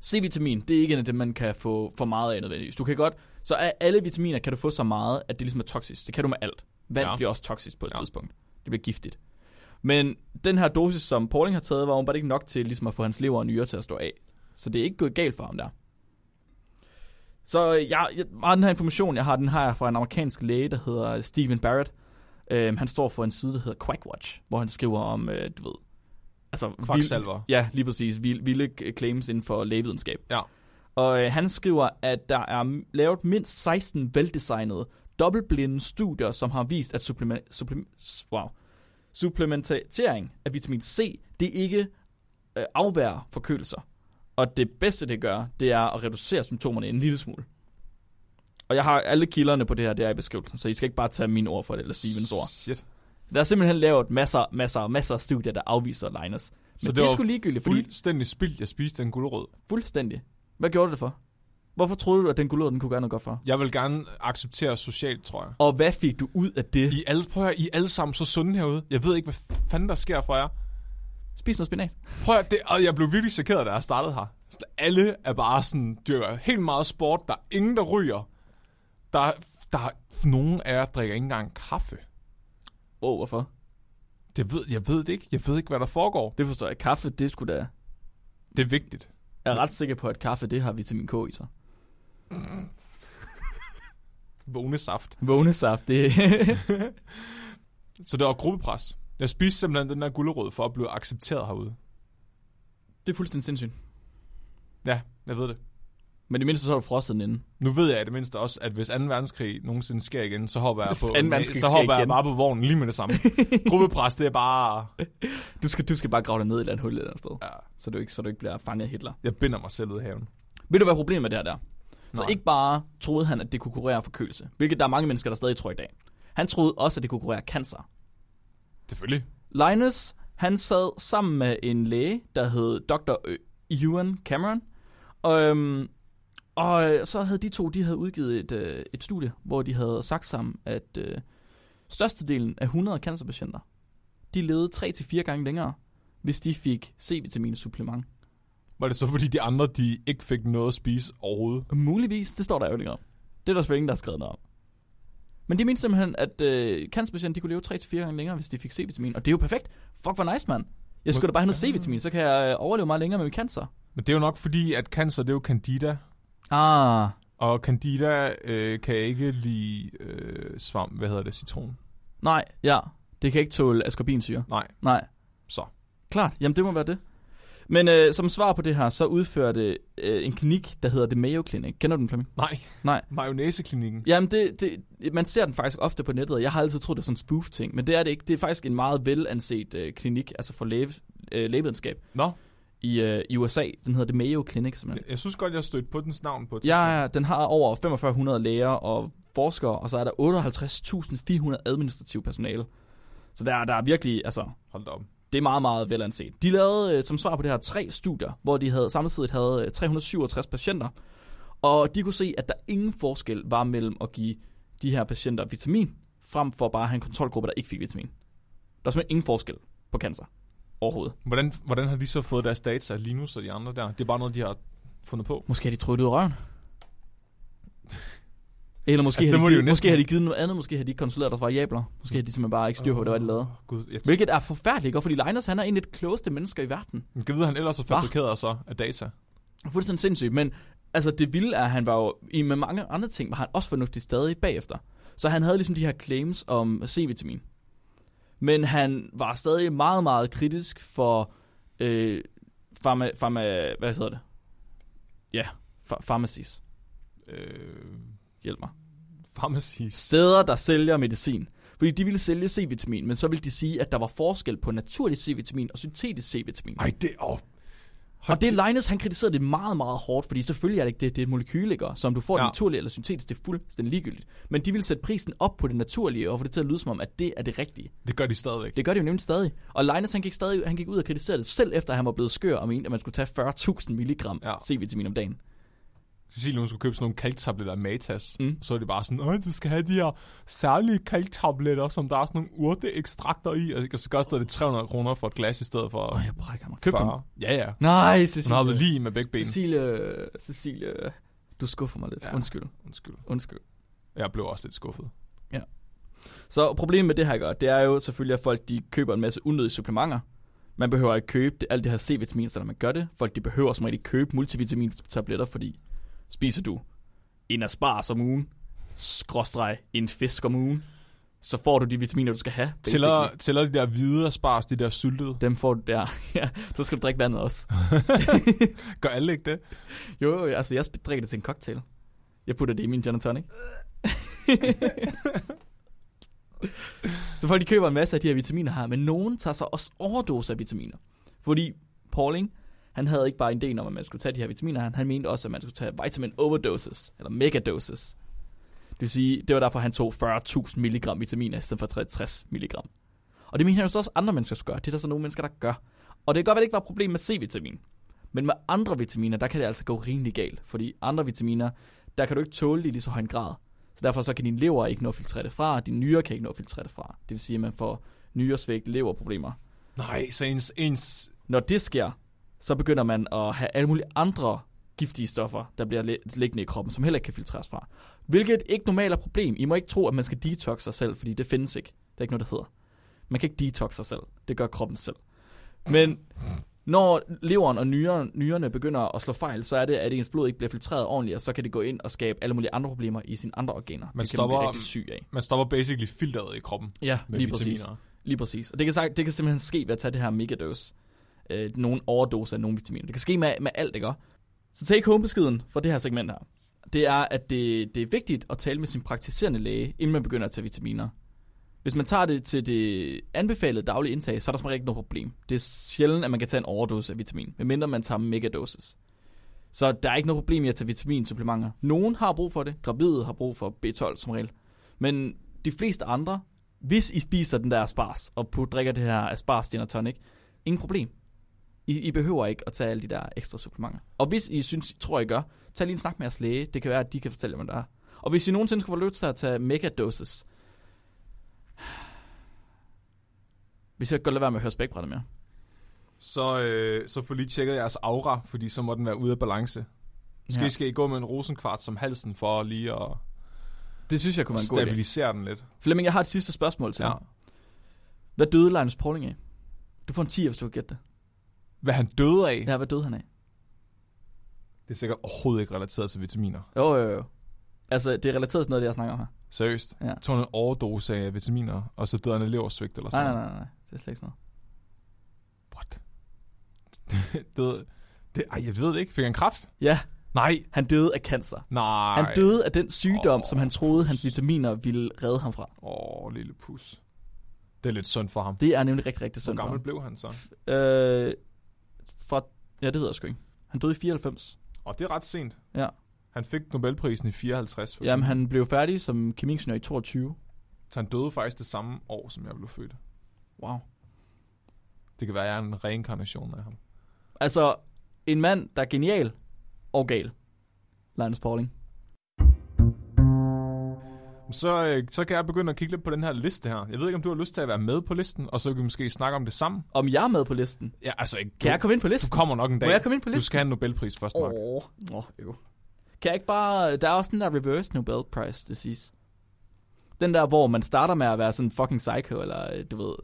S3: C-vitamin, det er ikke en af dem, man kan få for meget af nødvendigvis. Du kan godt, så af alle vitaminer kan du få så meget, at det ligesom er toksisk. Det kan du med alt. Vand
S2: Ja.
S3: ja. bliver også toksisk på et
S2: Ja.
S3: ja. tidspunkt. Det bliver giftigt. Men den her dosis, som Pauling har taget, var åbenbart ikke nok til ligesom at få hans lever og nyrer til at stå af. Så det er ikke gået galt for ham der. Så øh, jeg, jeg, meget af den her information, jeg har, den har jeg fra en amerikansk læge, der hedder Stephen Barrett. Øhm, han står for en side, der hedder Quackwatch, hvor han skriver om, øh, du ved... Altså, vild-
S2: Kvaksalver.
S3: Ja, lige præcis. Vild, vilde k- claims inden for lægevidenskab.
S2: Ja.
S3: Og øh, han skriver, at der er m- lavet mindst 16 veldesignede, dobbeltblinde studier, som har vist, at supplement, supplement, wow, supplementering af vitamin C, det ikke øh, afværger forkølelser. Og det bedste, det gør, det er at reducere symptomerne en lille smule. Og jeg har alle kilderne på det her, der i beskrivelsen, så I skal ikke bare tage mine ord for det, eller Stevens ord.
S2: Shit.
S3: Der er simpelthen lavet masser, masser, masser af studier, der afviser Linus. Men
S2: Så
S3: så
S2: det
S3: det, det er
S2: var
S3: sgu ligegyldigt, fordi
S2: Fuldstændig spildt, jeg spiste den gulerod.
S3: fuldstændig. Hvad gjorde du det for? Hvorfor troede du, at den gulerod, den kunne gøre noget godt for?
S2: Jeg vil gerne acceptere socialt, tror jeg.
S3: Og hvad fik du ud af det?
S2: I er alle, prøv at høre, I er alle sammen så sunde herude. Jeg ved ikke, hvad fanden der sker for jer.
S3: Spis noget spinat.
S2: Prøv at, høre, det, og jeg blev virkelig chokeret, da jeg startede her. Så alle er bare sådan, dyrker helt meget sport. Der er ingen, der ryger. Der, er- der er nogen af jer, der drikker ikke engang kaffe.
S3: Åh, oh, hvorfor?
S2: Det ved, jeg ved det ikke. Jeg ved ikke, hvad der foregår.
S3: Det forstår jeg. Kaffe, det skulle da...
S2: Det er vigtigt.
S3: Jeg er ret sikker på, at kaffe, det har vitamin K i sig.
S2: Vågne saft.
S3: Vågnesaft, det...
S2: Så det var gruppepres. Jeg spiste simpelthen den der gulerod for at blive accepteret herude.
S3: det er fuldstændig sindssygt.
S2: Ja, jeg ved det.
S3: Men i mindste så har du frosset den inden.
S2: Nu ved jeg i det mindste også, at hvis 2. verdenskrig nogensinde sker igen, så hopper jeg,
S3: Hvis
S2: på,
S3: 2. verdenskrig
S2: så
S3: sker
S2: hopper jeg
S3: igen.
S2: bare på vognen lige med det samme. Gruppepres, det er bare...
S3: Du skal, du skal bare grave dig ned i et eller andet hul et eller andet sted.
S2: Ja,
S3: Så du ikke, så du ikke bliver fanget af Hitler.
S2: jeg binder mig selv ud af haven.
S3: Ved du, hvad problemet med det her der? Så
S2: Nej.
S3: ikke bare troede han, at det kunne kurere forkølelse, hvilket der er mange mennesker, der stadig tror i dag. Han troede også, at det kunne kurere cancer.
S2: Selvfølgelig.
S3: Linus, han sad sammen med en læge, der hed Dr. Ewan Cameron. Og, øhm, og øh, så havde de to, de havde udgivet et, øh, et studie, hvor de havde sagt sammen, at øh, størstedelen af 100 cancerpatienter, de levede 3-4 gange længere, hvis de fik C-vitaminsupplement.
S2: Var det så, fordi de andre, de ikke fik noget at spise overhovedet?
S3: Muligvis, det står der jo ikke om. Det er der selvfølgelig ingen, der har skrevet noget om. Men de mente simpelthen, at øh, cancerpatienter de kunne leve 3-4 gange længere, hvis de fik C-vitamin. Og det er jo perfekt. Fuck, hvor nice, mand. Jeg skulle da bare have noget C-vitamin, så kan jeg øh, overleve meget længere med min cancer.
S2: Men det er jo nok fordi, at cancer, det er jo candida.
S3: Ah,
S2: Og candida øh, kan ikke lide øh, svamp, hvad hedder det, citron.
S3: nej, ja. Det kan ikke tåle ascorbinsyre.
S2: Nej,
S3: Nej.
S2: så.
S3: Klart, jamen det må være det. Men øh, som svar på det her, så udførte øh, en klinik, der hedder The Mayo Clinic. Kender du den, Flemming?
S2: Nej.
S3: Nej.
S2: Mayonnaise-klinikken.
S3: Jamen, det, det, man ser den faktisk ofte på nettet, og jeg har altid troet, det var sådan en spoof-ting, men det er det ikke. Det er faktisk en meget velanset øh, klinik, altså for læge, øh, lægevidenskab
S2: Nå,
S3: i, øh, i USA. Den hedder The Mayo Clinic, simpelthen.
S2: jeg, jeg synes godt, jeg stødte på dens navn på et tidspunkt.
S3: Ja, ja, den har over 4500 læger og forskere, og så er der 58.400 administrativ personale. Så der, er- der er virkelig, altså,
S2: Hold da op.
S3: det er meget, meget velanset. De lavede øh, som svar på det her tre studier, hvor de havde samtidig havde øh, 367 patienter, og de kunne se, at der ingen forskel var mellem at give de her patienter vitamin, frem for bare at have en kontrolgruppe, der ikke fik vitamin. Der er simpelthen ingen forskel på cancer overhovedet.
S2: Hvordan, hvordan har de så fået deres data, Linus og de andre der? Det er bare noget, de har fundet på.
S3: Måske har de trykket ud af røven. Eller måske,
S2: Altså, det
S3: altså,
S2: må
S3: har
S2: de
S3: de
S2: jo
S3: givet, måske
S2: næsten-
S3: har de givet noget andet, måske har de ikke kontrolleret deres variabler. Måske har de simpelthen bare ikke styr på, hvad det var, de lavede.
S2: Åh, Gud, jeg
S3: Hvilket er forfærdeligt, godt, fordi Linus han er en af de klogeste mennesker i verden.
S2: Kan vide, at han ellers har fabrikeret sig af data?
S3: Fuldstændig sindssygt, men altså det vilde er, at han var jo i med mange andre ting, var han også fornuftig stadig bagefter. Så han havde ligesom de her claims om C-vitamin. Men han var stadig meget, meget kritisk for øh, farma, farma, hvad hedder det? Ja, fa- pharmacies.
S2: Øh,
S3: Hjælp mig.
S2: pharmacies.
S3: Steder, der sælger medicin. Fordi de ville sælge C-vitamin, men så ville de sige, at der var forskel på naturlig C-vitamin og syntetisk C-vitamin.
S2: Ej, det er... Oh.
S3: Og det Linus, han kritiserede det meget, meget hårdt, fordi selvfølgelig er det ikke det, det er molekyl, ikke? Og som du får
S2: Ja.
S3: ja. naturligt eller syntetisk, det er fuldstændig ligegyldigt. Men de vil sætte prisen op på det naturlige, og få det til at lyde som om, at det er det rigtige.
S2: Det gør de stadigvæk.
S3: Det gør de jo nemlig stadig. Og Linus, han gik, stadig, han gik ud og kritiserede det, selv efter han var blevet skør og mente, at man skulle tage 40.000 milligram
S2: Ja.
S3: ja. C-vitamin om dagen.
S2: Cecilie, hun skulle købe sådan nogle kalktabletter af Matas. Mm.
S3: Mm.
S2: Så er det bare sådan, Øj, du skal have de her særlige kalktabletter, som der er sådan nogle urteekstrakter i. Og så koster det 300 kroner for et glas i stedet for...
S3: Åh, jeg brækker mig. Køb dem.
S2: 40. Ja, ja.
S3: Nej,
S2: Hun
S3: Cecilie.
S2: har lige med begge ben.
S3: Cecilie, Cecilie, du skuffer mig lidt.
S2: Ja.
S3: Ja. Undskyld,
S2: Undskyld.
S3: undskyld.
S2: Jeg blev også lidt skuffet.
S3: Så problemet med det her, gør, det er jo selvfølgelig, at folk de køber en masse unødige supplementer. Man behøver ikke købe det, alt det her C-vitamin, så når man gør det. Folk de behøver som regel ikke købe multivitamintabletter, fordi spiser du en aspars om ugen, skråstreg en fisk om ugen, så får du de vitaminer, du skal have. basically.
S2: Tæller, tæller de der hvide og spars, de der syltede?
S3: Dem får du der. ja, så skal du drikke vandet også.
S2: Gør alle ikke det?
S3: Jo, jo, altså jeg sp- drikker det til en cocktail. Jeg putter det i min gin and tonic. så folk de køber en masse af de her vitaminer her, men nogen tager sig også overdose af vitaminer. Fordi Pauling, han havde ikke bare ideen om, at man skulle tage de her vitaminer, han, han mente også, at man skulle tage vitamin overdoses, eller megadoses. Det vil sige, det var derfor, han tog 40.000 mg vitaminer, i stedet for 60 mg. Og det mener han jo så også, andre mennesker skal gøre. Det er der så nogle mennesker, der gør. Og det kan godt være, det ikke var et problem med C-vitamin. Men med andre vitaminer, der kan det altså gå rimelig galt. Fordi andre vitaminer, der kan du ikke tåle det i lige så høj en grad. Så derfor så kan din lever ikke nå at filtrere det fra, og din nyre kan ikke nå at filtrere det fra. Det vil sige, at man får nyresvigt, leverproblemer.
S2: Nej, så ens, ens
S3: Når det sker, så begynder man at have alle mulige andre giftige stoffer, der bliver li- liggende i kroppen, som heller ikke kan filtreres fra. Hvilket ikke normalt er et problem. I må ikke tro, at man skal detoxe sig selv, fordi det findes ikke. Der er ikke noget, der hedder. Man kan ikke detoxe sig selv. Det gør kroppen selv. Men når leveren og nyren, nyrerne begynder at slå fejl, så er det, at ens blod ikke bliver filtreret ordentligt, og så kan det gå ind og skabe alle mulige andre problemer i sine andre organer.
S2: Man
S3: det kan man blive
S2: stopper-
S3: rigtig syg af.
S2: Man stopper basically filteret i kroppen
S3: Ja,
S2: med
S3: lige præcis.
S2: vitaminer.
S3: Lige præcis. Og det kan, sagt, det kan simpelthen ske ved at tage det her megadose. Øh, nogle overdoser af nogle vitaminer. Det kan ske med, med alt, ikke også? Så take home beskeden fra det her segment her. Det er, at det, det er vigtigt at tale med sin praktiserende læge, inden man begynder at tage vitaminer. Hvis man tager det til det anbefalede daglige indtag, så er der som regel ikke noget problem. Det er sjældent, at man kan tage en overdosis af vitamin, medmindre man tager megadoses. Så der er ikke noget problem i at tage vitaminsupplementer. Nogen har brug for det. Gravide har brug for B12 som regel. Men de fleste andre, hvis I spiser den der aspars, og put, drikker det her aspars gin og tonic, ingen problem. I, I behøver ikke at tage alle de der ekstra supplementer. Og hvis I synes, tror I gør, tag lige en snak med jeres læge. Det kan være, at de kan fortælle jer, hvad der er. Og hvis I nogensinde skulle få lyst til at tage megadoses, hvis jeg godt lade være med at høre spækbrættet mere.
S2: Så, øh, så få lige tjekket jeres aura, fordi så må den være ude af balance. Måske
S3: Ja.
S2: ja. skal I gå med en rosenkvarts som halsen for lige at
S3: Det synes jeg kunne være en god idé.
S2: stabilisere den lidt.
S3: Flemming, jeg har et sidste spørgsmål til
S2: Ja.
S3: dig. Hvad døde Linus Pauling af? Du får en 10, hvis du kan gætte det.
S2: Hvad han døde af, ja.
S3: Ja, hvad døde han af?
S2: det er sikkert overhovedet ikke relateret til vitaminer.
S3: Jo, jo, jo. Altså, det er relateret til noget, af det jeg snakker om her.
S2: Seriøst.
S3: Ja.
S2: Tog han en overdose af vitaminer, og så døde han af leversvigt eller
S3: Nej,
S2: sådan
S3: nej, nej, nej. Det er slet ikke sådan noget.
S2: What? døde. Det, ej, jeg ved det ikke. Fik han kraft?
S3: Ja,
S2: Nej.
S3: han døde af cancer.
S2: Nej.
S3: Han døde af den sygdom,
S2: Åh,
S3: som han troede, hans
S2: pus.
S3: vitaminer ville redde ham fra.
S2: Åh, lille pus. Det er lidt synd for ham.
S3: Det er nemlig rigtig, rigtig
S2: Hvor
S3: synd for
S2: gammel
S3: ham.
S2: blev han så?
S3: Øh, fra, ja, det hedder jeg sgu ikke. Han døde i 94.
S2: Og det er ret sent.
S3: Ja.
S2: Han fik Nobelprisen i 54. For
S3: Jamen,
S2: eksempel.
S3: han blev færdig som kemiingeniør i 22.
S2: Så han døde faktisk det samme år, som jeg blev født.
S3: Wow.
S2: Det kan være, at jeg er en reinkarnation af ham.
S3: Altså, en mand, der er genial og gal. Linus Pauling.
S2: Så, øh, så kan jeg begynde at kigge lidt på den her liste her. Jeg ved ikke, om du har lyst til at være med på listen, og så kan vi måske snakke om det sammen.
S3: Om jeg er med på listen.
S2: Ja, altså ikke.
S3: Kan jeg komme ind på
S2: du
S3: listen?
S2: kommer nok en dag.
S3: Må jeg komme ind på
S2: Du
S3: listen?
S2: skal have en Nobelpris først, Mark.
S3: Åh, oh, jo. Kan jeg ikke bare... Der er også den der reverse Nobel Prize disease. Den der, hvor man starter med at være sådan fucking psycho, eller øh, du ved...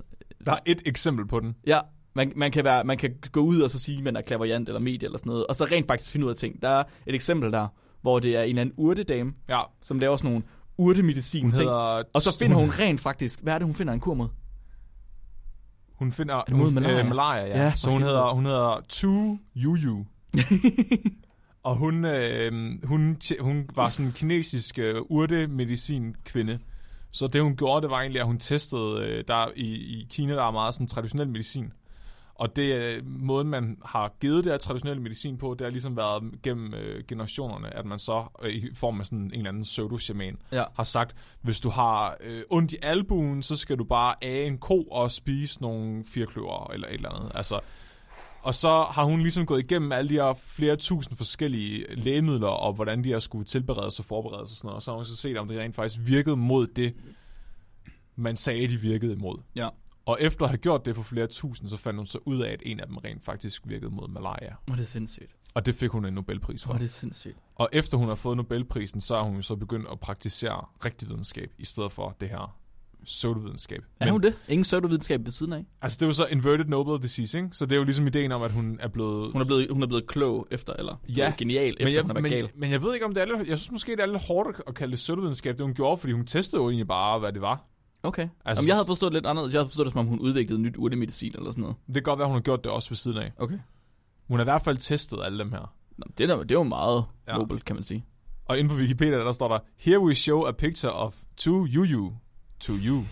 S2: Der er et eksempel på den.
S3: Ja, man, man, kan være, man kan gå ud og så sige, at man er klaverjant eller medie eller sådan noget, og så rent faktisk finde ud af ting. Der er et eksempel der, hvor det er en eller anden urtedame,
S2: Ja,
S3: som laver sådan nogle urtemedicin
S2: hun
S3: ting.
S2: hedder...
S3: Og så finder hun rent faktisk, hvad er det, hun finder en kur mod?
S2: Hun finder...
S3: det mod
S2: hun,
S3: malaria?
S2: Øh, malaria, ja.
S3: Ja,
S2: ja så
S3: for
S2: hun
S3: helvede.
S2: hedder, hun hedder Tu Yuyu. og hun, øh, hun, tje- hun var sådan en kinesisk øh, urtemedicin-kvinde. Så det, hun gjorde, det var egentlig, at hun testede... Øh, der i, I Kina, der er meget sådan traditionel medicin. Og det øh, måden, man har givet det her traditionelle medicin på, det har ligesom været gennem øh, generationerne, at man så øh, i form af sådan en eller anden pseudo-shaman
S3: Ja.
S2: har sagt, hvis du har øh, ondt i albuen, så skal du bare age en ko og spise nogle firkløver eller et eller andet. Altså, og så har hun ligesom gået igennem alle de her flere tusind forskellige lægemidler, og hvordan de her skulle tilberedes og forberedes og sådan noget. Og så har hun så set, om det rent faktisk virkede mod det, man sagde, de virkede imod.
S3: Ja.
S2: Og efter at have gjort det for flere tusind, så fandt hun så ud af, at en af dem rent faktisk virkede mod malaria.
S3: Åh, det er sindssygt.
S2: Og det fik hun en Nobelpris for.
S3: Åh, det er sindssygt.
S2: Og efter hun har fået Nobelprisen, så har hun jo så begyndt at praktisere rigtig videnskab, i stedet for det her pseudovidenskab.
S3: Er hun det? Ingen pseudovidenskab ved siden af.
S2: Altså, det er jo så inverted noble disease, ikke? Så det er jo ligesom ideen om, at hun er blevet...
S3: Hun er blevet, hun er blevet klog efter, eller
S2: Ja,
S3: ja, genial efter,
S2: men jeg,
S3: hun har været
S2: men,
S3: gal.
S2: men jeg ved ikke, om det er lidt... Jeg synes måske, det er lidt hårdt at kalde det pseudovidenskab, det hun gjorde, fordi hun testede jo egentlig bare, hvad det var.
S3: Okay.
S2: Altså-
S3: Altså, Jamen, jeg havde forstået det lidt anderledes. Jeg havde forstået det, som om hun udviklede nyt urtemedicin eller sådan noget.
S2: Det kan godt være, hun har gjort det også ved siden af.
S3: Okay.
S2: Hun har i hvert fald testet alle dem her.
S3: Nå, det, er, da- det er jo meget
S2: Ja.
S3: ja. nobelt, kan man sige.
S2: Og inde på Wikipedia, der står der, Here we show a picture of two you to you.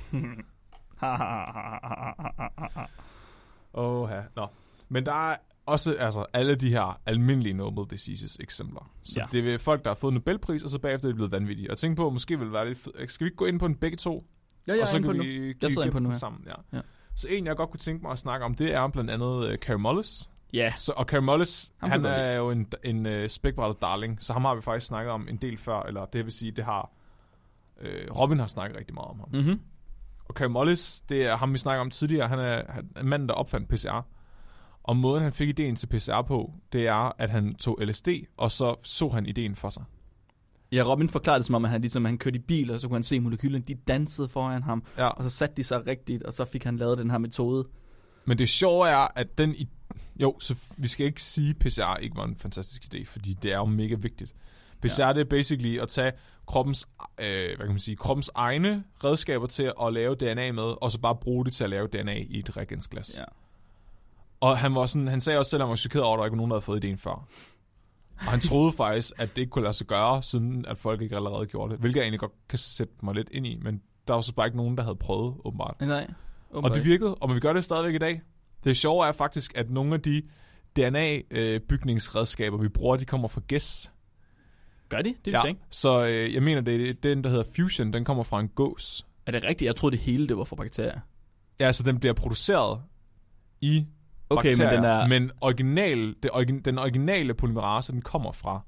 S2: Åh, ja. Nå. Men der er også altså, alle de her almindelige noble diseases eksempler. Så ja.
S3: Ja.
S2: det er folk, der har fået Nobelpris, og så bagefter er de blevet vanvittige. Og tænk på, at måske vil det være lidt fed. Skal vi ikke gå ind på en begge to?
S3: Ja, jeg
S2: og
S3: er
S2: så
S3: inde på
S2: kan
S3: det
S2: vi
S3: nu.
S2: kigge
S3: sidder inde på
S2: dem
S3: den her.
S2: sammen. Ja.
S3: Ja.
S2: Så en, jeg godt kunne tænke mig at snakke om, det er blandt andet øh, Carey Mullis.
S3: Ja,
S2: Så, og Carey Mullis,
S3: Ham
S2: han
S3: kan jeg godt
S2: er jo en, en uh, spækbrættet darling, så ham har vi faktisk snakket om en del før, eller det vil sige, det har øh, Robin har snakket rigtig meget om ham. Mm.
S3: mm-hmm.
S2: Og Carey Mullis, det er ham, vi snakker om tidligere, han er, han er manden, der opfandt PCR. Og måden, han fik ideen til PCR på, det er, at han tog LSD, og så så han ideen for sig.
S3: ja, Robin forklarede det som om, at han, ligesom, han kørte i bil, og så kunne han se molekylerne, de dansede foran ham,
S2: Ja.
S3: og så satte de sig rigtigt, og så fik han lavet den her metode.
S2: Men det sjove er, at den... I, jo, så f- vi skal ikke sige, at PCR ikke var en fantastisk idé, fordi det er jo mega vigtigt. PCR ja. det er basically at tage kroppens, øh, hvad kan man sige, kroppens egne redskaber til at lave DNA med, og så bare bruge det til at lave DNA i et reagensglas. Ja.
S3: Ja.
S2: Og han, var sådan, han sagde også selv, at han var chokeret over, at der ikke var nogen, der havde fået idéen før. Og han troede faktisk, at det ikke kunne lade sig gøre, siden at folk ikke allerede gjorde det. Hvilket jeg egentlig godt kan sætte mig lidt ind i, men der var så bare ikke nogen, der havde prøvet, åbenbart.
S3: Nej.
S2: Og det virkede, og vi gør det stadigvæk i dag. Det sjove er faktisk, at nogle af de DNA-bygningsredskaber, øh, vi bruger, de kommer fra gæs.
S3: Gør de? Det vidste jeg ikke.
S2: Så øh, jeg mener, det er den, der hedder Fusion, den kommer fra en gås.
S3: Er det rigtigt? Jeg troede, det hele det var for bakterier.
S2: Ja, så den bliver produceret i
S3: Okay,
S2: bakterier,
S3: men den er...
S2: men original, det origin, den originale polymerase, den kommer fra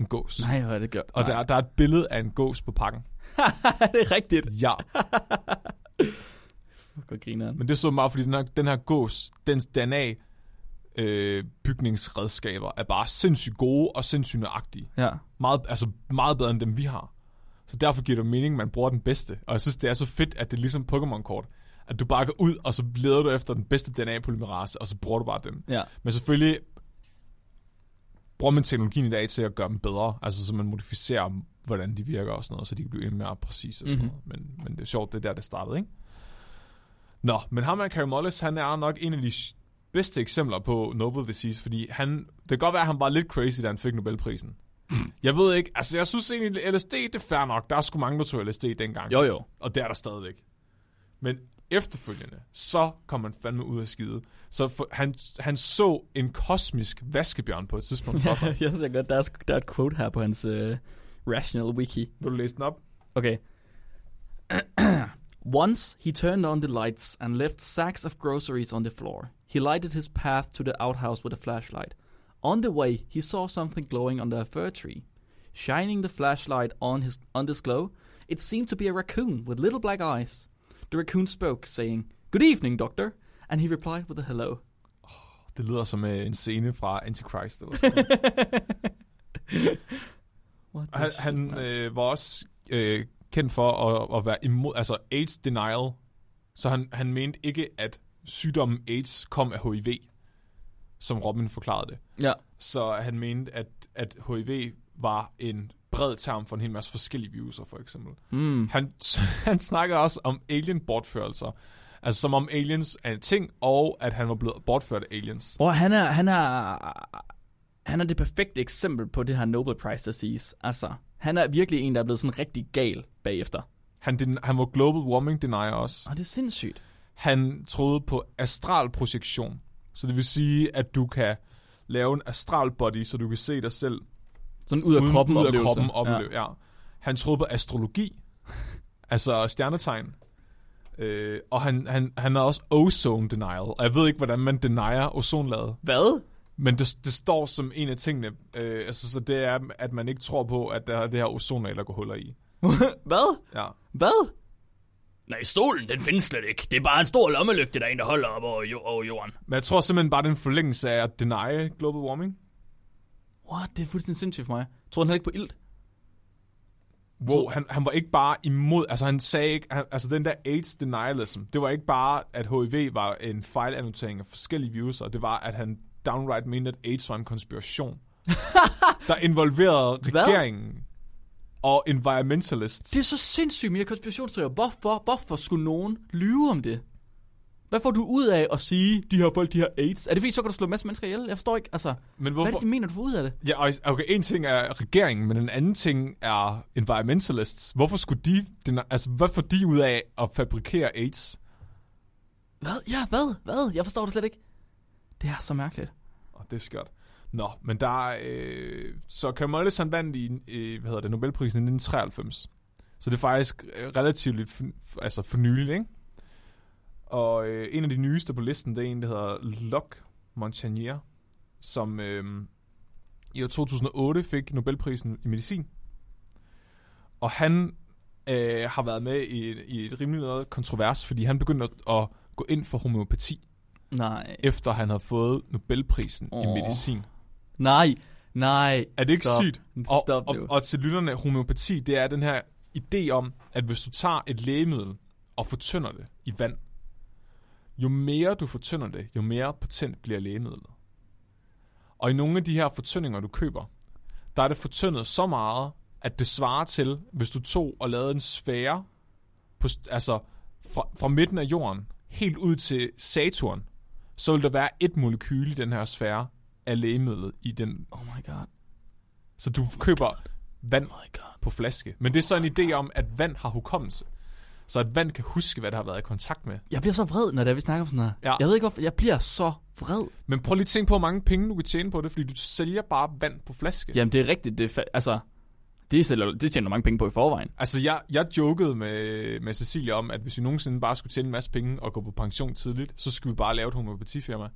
S2: en gås.
S3: Nej, hvad er det gjort?
S2: Og der, der er et billede af en gås på pakken.
S3: er det rigtigt.
S2: Ja,
S3: Fuck, hvor griner han.
S2: men det er så meget, fordi den her, den her gås, dens DNA, øh, bygningsredskaber, er bare sindssygt gode og sindssygt nøjagtige.
S3: Ja.
S2: meget, altså meget bedre end dem, vi har. Så derfor giver det jo mening, at man bruger den bedste. Og jeg synes, det er så fedt, at det er ligesom Pokémon-kort. At du bare går ud, og så leder du efter den bedste DNA-polymerase, og så bruger du bare den.
S3: Ja.
S2: Men selvfølgelig bruger man teknologien i dag til at gøre dem bedre. Altså så man modificerer, hvordan de virker og sådan noget, så de kan blive endnu mere præcise og sådan
S3: Mhm.
S2: noget. Men, men det er sjovt, det er der, det startede, ikke? Nå, men ham her, Carey Mullis, han er nok en af de s- bedste eksempler på Nobel Disease, fordi han, det kan godt være, at han var lidt crazy, da han fik Nobelprisen.
S3: Mhm.
S2: jeg ved ikke, altså jeg synes egentlig, LSD, det er fair nok. Der er sgu mange, der tog LSD dengang.
S3: Jo, jo.
S2: Og det er der stadigvæk. Men efterfølgende, så kom han fandme ud af skide. Så for, han, han så en kosmisk vaskebjørn på et tidspunkt for sig.
S3: jeg synes jeg godt, der er, sgu- der er et quote her på hans uh, Rational Wiki.
S2: Vil du læse den op?
S3: Okay. Once he turned on the lights and left sacks of groceries on the floor. He lighted his path to the outhouse with a flashlight. On the way, he saw something glowing under a fir tree. Shining the flashlight on his on this glow, it seemed to be a raccoon with little black eyes. The raccoon spoke, saying, "Good evening, doctor," and he replied with a hello.
S2: Det lyder som øh, en scene fra Antichrist eller sådan noget.
S3: What the
S2: Han,
S3: shit,
S2: han
S3: man.
S2: øh, var også øh, kendt for at, at være imod, altså AIDS denial. Så han, han mente ikke, at sygdommen AIDS kom af HIV, som Robin forklarede det.
S3: ja.
S2: Så han mente, at, at HIV var en bred term for en hel masse forskellige viruser, for eksempel.
S3: Mm.
S2: Han, han snakker også om alien-bortførelser. Altså som om aliens er en ting, og at han var blevet bortført af aliens.
S3: Bror, han er, han er, han er det perfekte eksempel på det her Nobel Prize disease. Altså, han er virkelig en, der er blevet sådan rigtig gal bagefter.
S2: Han, den, han var global warming denier også.
S3: Og det er sindssygt.
S2: Han troede på astral projektion. Så det vil sige, at du kan lave en astral body, så du kan se dig selv
S3: Sådan ud af
S2: uden-
S3: kroppen
S2: ud af
S3: oplevelse.
S2: kroppen opleve, ja. ja. Han troede på astrologi, altså stjernetegn. Øh, og han, han, han har også ozone denial. Og jeg ved ikke, hvordan man denier ozonlaget.
S3: Hvad?
S2: Men det, det står som en af tingene, øh, altså, så det er, at man ikke tror på, at der er det her ozonlag, der går huller i.
S3: Hvad?
S2: Ja.
S3: Hvad?
S4: Nej, solen, den findes slet ikke. Det er bare en stor lommelygte, der er en, der holder op over, jo- over jorden.
S2: Men jeg tror simpelthen bare, det er en forlængelse af at deny global warming.
S3: What? Det er fuldstændig sindssygt for mig. Tror han heller ikke på ilt?
S2: Wow, han, han var ikke bare imod, altså han sagde ikke, han, altså den der AIDS denialism, det var ikke bare, at HIV var en fejlannotering af forskellige viruser, det var, at han downright mente, at AIDS var en konspiration, der involverede regeringen og environmentalists.
S3: Det er så sindssygt mere konspirationsteorier. Hvorfor, hvorfor skulle nogen lyve om det? Hvad får du ud af at sige, de her folk, de har AIDS? Er det fordi, så kan du slå en masse mennesker ihjel? Jeg forstår ikke, altså...
S2: Men
S3: Hvad er det,
S2: hvorfor?
S3: de mener, du får ud af det?
S2: Ja, og- okay, en ting er regeringen, men en anden ting er environmentalists. Hvorfor skulle de, den- altså hvad får de ud af at fabrikere AIDS?
S3: Hvad? Ja, hvad? Hvad? Jeg forstår det slet ikke. Det er så mærkeligt.
S2: Og det er skørt. Nå, men der er, øh, så Kamala han vandt i, øh, hvad hedder det, Nobelprisen i 1993. Så det er faktisk øh, relativt lidt for, altså fornyeligt, ikke? Og øh, en af de nyeste på listen, det er en, der hedder Locke Montagnier, som øh, i år 2008 fik Nobelprisen i medicin. Og han øh, har været med i, i et rimelig noget kontrovers, fordi han begyndte at, at gå ind for homeopati,
S3: Nej.
S2: efter han havde fået Nobelprisen oh. i
S3: Åh.
S2: medicin.
S3: Nej. Nej.
S2: Er det ikke
S3: Stop.
S2: sygt? Og,
S3: Stop
S2: og,
S3: nu.
S2: og til lytterne, homeopati, det er den her idé om, at hvis du tager et lægemiddel og fortynder det i vand, jo mere du fortynder det, jo mere potent bliver lægemidlet. Og i nogle af de her fortyndinger, du køber, der er det fortyndet så meget, at det svarer til, hvis du tog og lavede en sfære, på, st- altså fra, fra midten af jorden, helt ud til Saturn, så vil der være et molekyle i den her sfære af lægemidlet i den
S3: Oh my god.
S2: så du køber vand på flaske. Men det er så en idé om, at vand har hukommelse. Så at vand kan huske, hvad der har været i kontakt med.
S3: Jeg bliver så vred, når det er, vi snakker om sådan noget.
S2: Ja.
S3: Jeg ved ikke, hvorfor. Jeg bliver så vred.
S2: Men prøv lige at tænke på, hvor mange penge du kan tjene på det, fordi du sælger bare vand på flaske.
S3: Jamen, det er rigtigt. Det er fa- altså, det, sælger, det tjener du mange penge på i forvejen.
S2: Altså, jeg, jeg jokede med, med Cecilie om, at hvis vi nogensinde bare skulle tjene en masse penge og gå på pension tidligt, så skulle vi bare lave et homeopatifirma.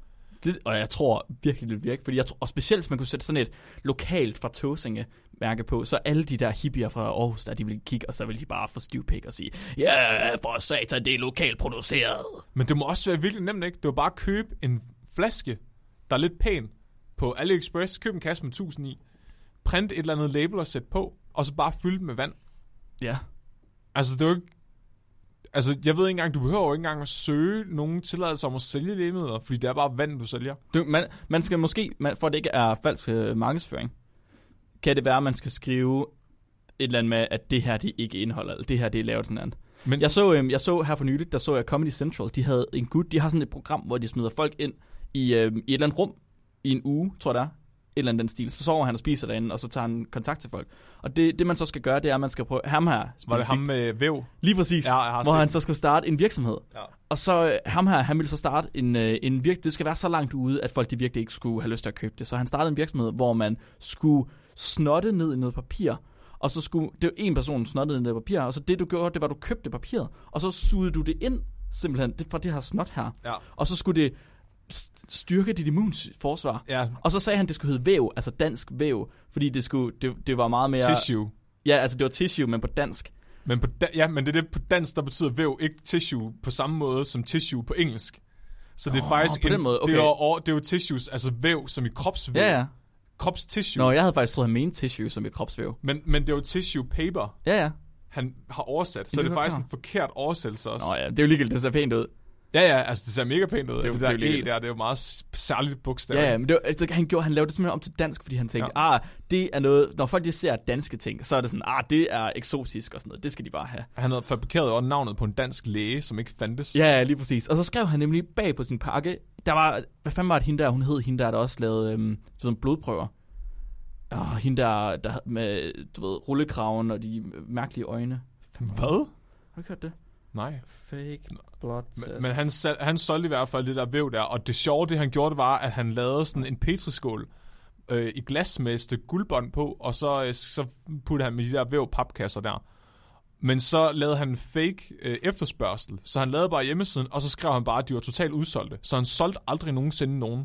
S3: Det, og jeg tror virkelig, det virker. Fordi jeg tror, og specielt, hvis man kunne sætte sådan et lokalt fra Tåsinge mærke på, så alle de der hippier fra Aarhus, der de ville kigge, og så ville de bare få stiv pik og sige,
S4: Ja, for satan, det er lokalt produceret.
S2: Men det må også være virkelig nemt, ikke? Det var bare at købe en flaske, der er lidt pæn, på AliExpress, køb en kasse med 1000 i, print et eller andet label og sæt på, og så bare fylde den med vand.
S3: ja,
S2: Altså, det er jo ikke... Altså, jeg ved ikke engang, du behøver jo ikke engang at søge nogen tilladelse om at sælge lægemidler, fordi det er bare vand, du sælger.
S3: Du, man, man skal måske, man, for at det ikke er falsk øh, markedsføring, kan det være, at man skal skrive et eller andet med, at det her det ikke indeholder, eller det her det er lavet sådan andet.
S2: Men-
S3: Men, jeg, så, øhm, jeg så her for nyligt, der så jeg Comedy Central, de havde en gut, de har sådan et program, hvor de smider folk ind i, øhm, i et eller andet rum i en uge, tror jeg det er, et eller andet den stil. Så sover han og spiser derinde, og så tager han kontakt til folk. Og det, det man så skal gøre, det er, at man skal prøve, ham her,
S2: Var det ham med væv?
S3: Lige præcis.
S2: Ja, jeg har
S3: hvor
S2: set
S3: han
S2: den.
S3: så skal starte en virksomhed.
S2: Ja.
S3: Og så øh, ham her, han ville så starte en, øh, en virksomhed. Det skal være så langt ude, at folk de virkelig ikke skulle have lyst til at købe det. Så han startede en virksomhed, hvor man skulle snotte ned i noget papir. Og så skulle, det var en person, der snottede ned i noget papir. Og så det du gjorde, det var, at du købte papiret. Og så sugede du det ind, simpelthen, det, fra det her snot her.
S2: Ja.
S3: Og så skulle det st- styrke dit immunforsvar.
S2: Ja.
S3: Og så sagde han, at det skulle hedde væv, altså dansk væv, fordi det, skulle, det, det var meget mere...
S2: Tissue.
S3: Ja, altså det var tissue, men på dansk.
S2: Men, på da- ja, men det er det på dansk, der betyder væv, ikke tissue, på samme måde som tissue på engelsk. Så det er faktisk
S3: på den måde,
S2: det, er,
S3: okay.
S2: jo- og, det er jo tissues, altså væv som i kropsvæv.
S3: Ja, ja.
S2: Kropstissue.
S3: Nå, jeg havde faktisk troet, han mente tissue som et kropsvæv.
S2: Men, men det er jo tissue paper,
S3: Ja, ja.
S2: han har oversat. Så
S3: det
S2: det er
S3: var
S2: faktisk
S3: klar.
S2: en forkert oversættelse også.
S3: Nå ja, det er jo ligegyldigt, det ser pænt ud.
S2: Ja, ja, altså det ser mega pænt ud. Det,
S3: er jo-
S2: det,
S3: det er
S2: der
S3: jo
S2: det, E
S3: lidt-
S2: der, det er jo meget s- særligt bogstav.
S3: Ja, ja, men det var, altså, han, gjorde, han lavede det simpelthen om til dansk, fordi han tænkte, ah, det er noget, når folk de ser danske ting, så er det sådan, ah, det er eksotisk og sådan noget, det skal de bare have.
S2: Han havde fabrikeret over navnet på en dansk læge, som ikke fandtes.
S3: Ja, ja, lige præcis. Og så skrev han nemlig bag på sin pakke, der var, hvad fanden var det hende der, hun hed hende der, der også lavede øhm, sådan blodprøver. Og hende der, der havde med, du ved, rullekraven og de mærkelige øjne.
S2: Hvad?
S3: Har du ikke hørt det?
S2: Nej.
S3: Fake blood
S2: Men, men han, sal- han solgte i hvert fald det der væv der, og det sjove, det han gjorde, det var, at han lavede sådan en petriskål øh, i glas med et stykke guldbånd på, og så, øh, så puttede han med de der vævpapkasser der. Men så lavede han fake øh, efterspørgsel, så han lavede bare hjemmesiden, og så skrev han bare, at de var totalt udsolgte. Så han solgte aldrig nogensinde nogen.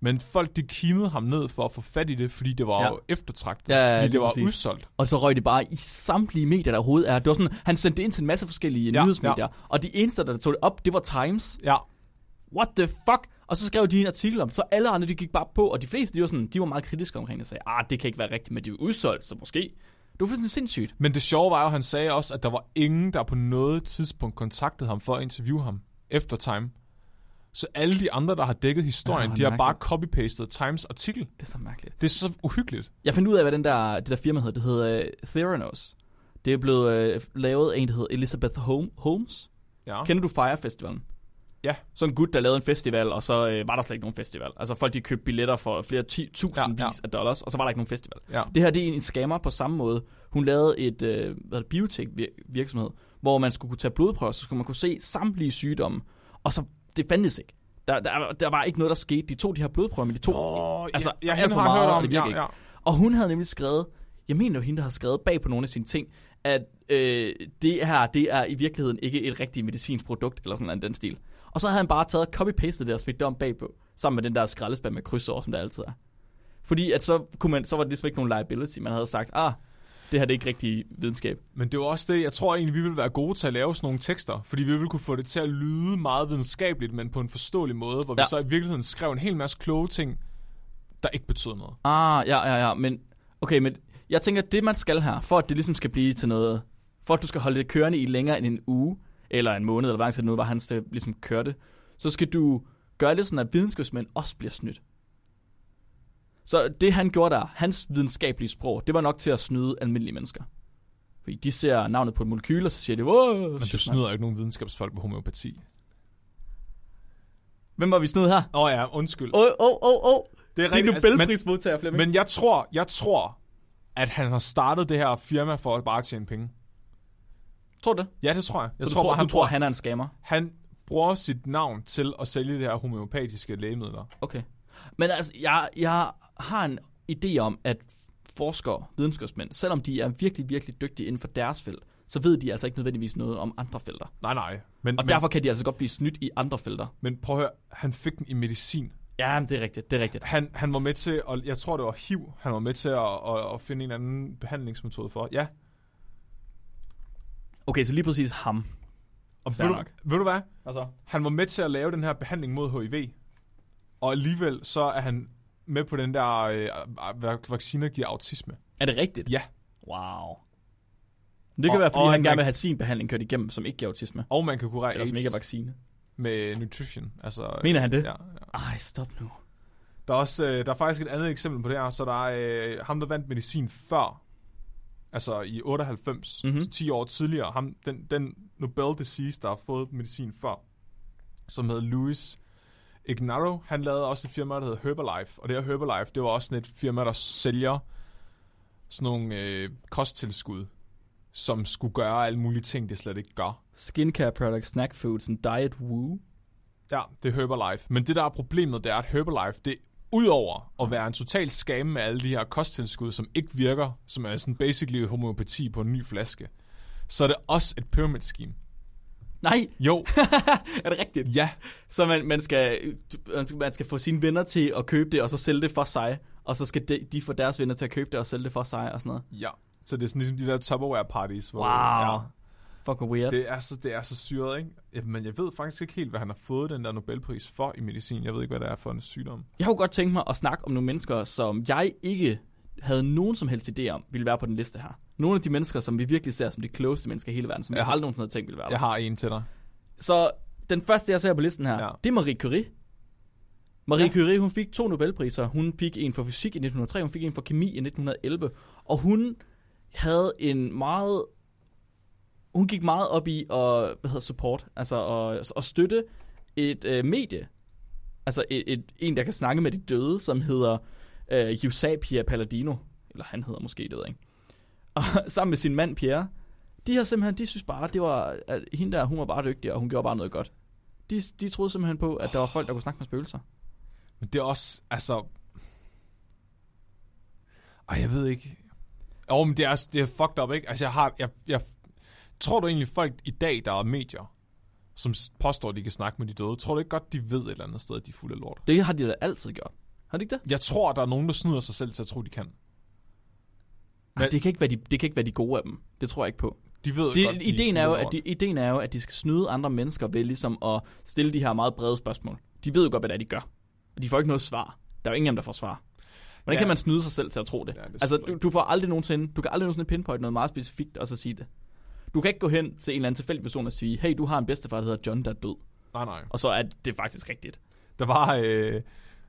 S2: Men folk, de kimede ham ned for at få fat i det, fordi det var
S3: Ja.
S2: ja. jo eftertragtet.
S3: Ja, ja,
S2: fordi det
S3: lige
S2: var
S3: præcis.
S2: udsolgt.
S3: Og så røg det bare i samtlige medier, der overhovedet er. Det var sådan, han sendte det ind til en masse forskellige
S2: Ja,
S3: ja, nyhedsmedier, ja. og de eneste, der tog det op, det var Times.
S2: Ja,
S3: What the fuck? Og så skrev de en artikel om, det, så alle andre, de gik bare på, og de fleste, de var sådan, de var meget kritiske omkring det, og sagde, ah, det kan ikke være rigtigt, men de er jo udsolgt, så måske. Det var fuldstændig sindssygt.
S2: Men det sjove var jo, at han sagde også, at der var ingen, der på noget tidspunkt kontaktede ham for at interviewe ham efter Time. Så alle de andre, der har dækket historien,
S3: Ja,
S2: ja, de har bare
S3: mærkeligt.
S2: copy-pastet Times artikel.
S3: Det er så mærkeligt.
S2: Det er så uhyggeligt.
S3: Jeg fandt ud af, hvad den der, det der firma hed. Det hed uh, Theranos. Det er blevet øh, lavet af en, der hed Elizabeth Home, Holmes.
S2: Ja.
S3: Kender du Fire Festivalen?
S2: Ja.
S3: Sådan en gut, der lavede en festival, og så øh, var der slet ikke nogen festival. Altså folk, de købte billetter for flere ti- tusindvis
S2: Ja, ja.
S3: ja, ja. af dollars, og så var der ikke nogen festival.
S2: ja.
S3: Det her, det er en scammer på samme måde. Hun lavede et øh, hvad er det, biotech vir- virksomhed, hvor man skulle kunne tage blodprøver, så skulle man kunne se samtlige sygdomme, og så det fandtes ikke. Der, der, der var ikke noget, der skete. De tog de her blodprøver, men de tog
S2: Åh,
S3: altså,
S2: ja, jeg
S3: alt
S2: hende
S3: for
S2: har
S3: meget,
S2: hørt
S3: og
S2: om.
S3: det
S2: Ja,
S3: virker ikke.
S2: ja.
S3: og hun havde nemlig skrevet, jeg mener jo hende, der havde skrevet bag på nogle af sine ting, at øh, det her, det er i virkeligheden ikke et rigtigt medicinsk produkt, eller sådan noget den stil. Og så havde han bare taget copy-pastet det og smidt det om bagpå, sammen med den der skraldespand med kryds over, som der altid er. Fordi at så, kunne man, så var det ligesom ikke nogen liability, man havde sagt, ah, det her det er ikke rigtig videnskab.
S2: Men det er jo også det, jeg tror egentlig, vi vil være gode til at lave sådan nogle tekster, fordi vi vil kunne få det til at lyde meget videnskabeligt, men på en forståelig måde, hvor ja. vi
S3: Ja.
S2: så i virkeligheden skrev en hel masse kloge ting, der ikke betyder noget.
S3: Ah, ja, ja, ja, men okay, men jeg tænker, at det man skal her, for at det ligesom skal blive til noget, for at du skal holde det kørende i længere end en uge, eller en måned, eller hvor lang tid det nu var, han skal ligesom køre det, så skal du gøre det sådan, at videnskabsmænd også bliver snydt. Så det han gjorde der, hans videnskabelige sprog, det var nok til at snyde almindelige mennesker. Fordi de ser navnet på et molekyl, og så siger de, wow,
S2: Men du snyder jo ikke nogen videnskabsfolk med homeopati.
S3: Hvem var vi snyd her?
S2: Åh oh, ja, undskyld.
S3: Åh, åh, åh, åh.
S2: det er Altså,
S3: Det er
S2: men,
S3: Nobelprismodtager, Flemming.
S2: men jeg tror, jeg tror, at han har startet det her firma for at bare tjene penge.
S3: tror du det?
S2: Ja, det tror jeg. Jeg
S3: Så du tror,
S2: bare,
S3: du
S2: han,
S3: tror, han er en scammer?
S2: han bruger sit navn til at sælge det her homeopatiske lægemidler.
S3: Okay. Men altså, jeg, jeg har en idé om, at forskere, videnskabsmænd, selvom de er virkelig, virkelig dygtige inden for deres felt, så ved de altså ikke nødvendigvis noget om andre felter.
S2: Nej, nej. Men,
S3: Og
S2: men,
S3: derfor kan de altså godt blive snydt i andre felter.
S2: men prøv at høre, han fik den i medicin.
S3: Ja, men det er rigtigt, det er rigtigt.
S2: Han, han var med til, og jeg tror det var HIV, han var med til at, at, at finde en anden behandlingsmetode for. Ja,
S3: Okay, så lige præcis ham.
S2: og
S3: Fair
S2: ved du,
S3: nok.
S2: ved du hvad?
S3: Altså?
S2: Han var med til at lave den her behandling mod HIV, og alligevel så er han med på den der, øh, hvad vacciner giver autisme.
S3: Er det rigtigt?
S2: Ja,
S3: Wow. Det kan
S2: Og-
S3: og, være, fordi
S2: og
S3: han
S2: en
S3: gerne
S2: man-
S3: vil have sin behandling kørt igennem, som ikke giver autisme.
S2: og man kan kurere
S3: Eller som ikke er
S2: AIDS
S3: vaccine.
S2: med nutrition. Altså,
S3: Mener han det?
S2: Ja, ja.
S3: Ej, stop nu.
S2: Der er, også, øh, der er faktisk et andet eksempel på det her, så der er øh, ham, der vandt medicin før, altså i 98,
S3: Mhm.
S2: mm-hmm. så 10 år tidligere, ham, den, den Nobel disease, der har fået medicin før, som hed Louis Ignaro, han lavede også et firma, der hed Herbalife, og det her Herbalife, det var også sådan et firma, der sælger sådan nogle øh, kosttilskud, som skulle gøre alle mulige ting, det slet ikke gør.
S3: Skincare products, snack foods and diet woo.
S2: Ja, det er Herbalife. Men det, der er problemet, det er, at Herbalife, det udover at være en total skam med alle de her kosttilskud, som ikke virker, som er sådan basically homeopati på en ny flaske, så er det også et pyramid scheme.
S3: Nej,
S2: Jo,
S3: er det rigtigt?
S2: ja,
S3: Så man, man, skal, man skal- man skal få sine venner til at købe det, og så sælge det for sig. Og så skal de, de få deres venner til at købe det og sælge det for sig og sådan noget.
S2: ja. Så det er sådan ligesom de der Tupperware parties. Hvor,
S3: Wow.
S2: ja,
S3: Fuck hvor weird. Det,
S2: det, er så, det er så syret, ikke? Ja, Men jeg ved faktisk ikke helt, hvad han har fået den der Nobelpris for i medicin. Jeg ved ikke, hvad det er for en sygdom.
S3: jeg kunne godt tænke mig at snakke om nogle mennesker, som jeg ikke havde nogen som helst idé om, ville være på den liste her. Nogle af de mennesker, som vi virkelig ser som de klogeste mennesker i hele verden, som
S2: Ja.
S3: jeg aldrig nogensinde havde tænkt ville være
S2: Jeg
S3: der.
S2: har en til dig.
S3: Så den første, jeg ser på listen her,
S2: Ja.
S3: ja. det er Marie Curie. Marie ja. Curie, hun fik to Nobelpriser. Hun fik en for fysik i 1903, hun fik en for kemi i 1911. Og hun havde en meget... Hun gik meget op i at, hvad hedder, support, altså at, at støtte et øh, medie, altså et, et, en, der kan snakke med de døde, som hedder øh, Eusapia Palladino, eller han hedder måske, det ved jeg ikke. Og sammen med sin mand Pierre, de har simpelthen, de synes bare, det var, at hende der, hun var bare dygtig, og hun gjorde bare noget godt. De, de troede simpelthen på, at der var folk, der kunne snakke med spøgelser.
S2: Men det er også, altså... Ej, jeg ved ikke. Jo, men det er, det er fucked up, ikke? Altså, jeg har... Jeg, jeg, tror du egentlig, folk i dag, der er medier, som s- påstår, at de kan snakke med de døde, tror du ikke godt, de ved et eller andet sted, at de er fulde af lort?
S3: Det har de da altid gjort. Har de ikke det?
S2: Jeg tror, der er nogen, der snyder sig selv til at tro, de kan.
S3: Ej, det, kan ikke være de, det kan ikke være de gode af dem. Det tror jeg ikke på.
S2: De ved
S3: Det,
S2: godt, de
S3: ideen, er jo,
S2: fulde af
S3: at
S2: lort.
S3: de, ideen er jo, at de skal snyde andre mennesker ved ligesom at stille de her meget brede spørgsmål. De ved jo godt, hvad det er, de gør. Og de får ikke noget svar. Der er jo ingen af dem, der får svar. Hvordan
S2: Ja.
S3: ja. kan man snyde sig selv til at tro det?
S2: Ja,
S3: Ja,
S2: det er
S3: det altså,
S2: selvfølgelig
S3: du, du, får aldrig nogensinde, du kan aldrig nogensinde pinpoint noget meget specifikt, og så sige det. Du kan ikke gå hen til en eller anden tilfældig person og sige, hey, du har en bedstefar, der hedder John, der er død.
S2: Nej, nej.
S3: Og så er det faktisk rigtigt.
S2: Der var øh,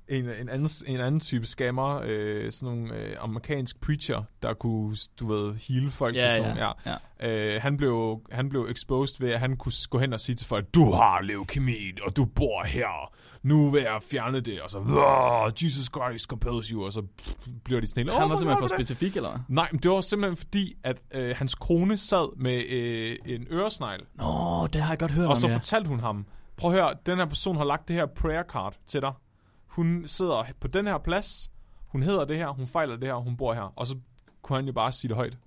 S2: en, en, anden, en anden type scammer, øh, sådan nogle øh, amerikansk preacher, der kunne, du ved, heal folk til sådan nogle.
S3: ja.
S2: Øh, han, blev, han blev exposed ved, at han kunne s- gå hen og sige til folk, du har leukemi, og du bor her. Nu vil jeg fjerne det. Og så, "Wow, Jesus Christ compels you. Og så pff, bliver de sådan helt,
S3: Han
S2: "Oh
S3: var
S2: my
S3: simpelthen
S2: God,
S3: for
S2: hvad-"
S3: specifik, eller hvad?
S2: Nej, men det var simpelthen fordi, at øh, hans kone sad med øh, en øresnegl,
S3: Nå, det har jeg godt hørt
S2: og så
S3: om, ja.
S2: fortalte hun ham, prøv at høre, den her person har lagt det her prayer card til dig. Hun sidder på den her plads, hun hedder det her, hun fejler det her, hun bor her. Og så kunne han jo bare sige det højt.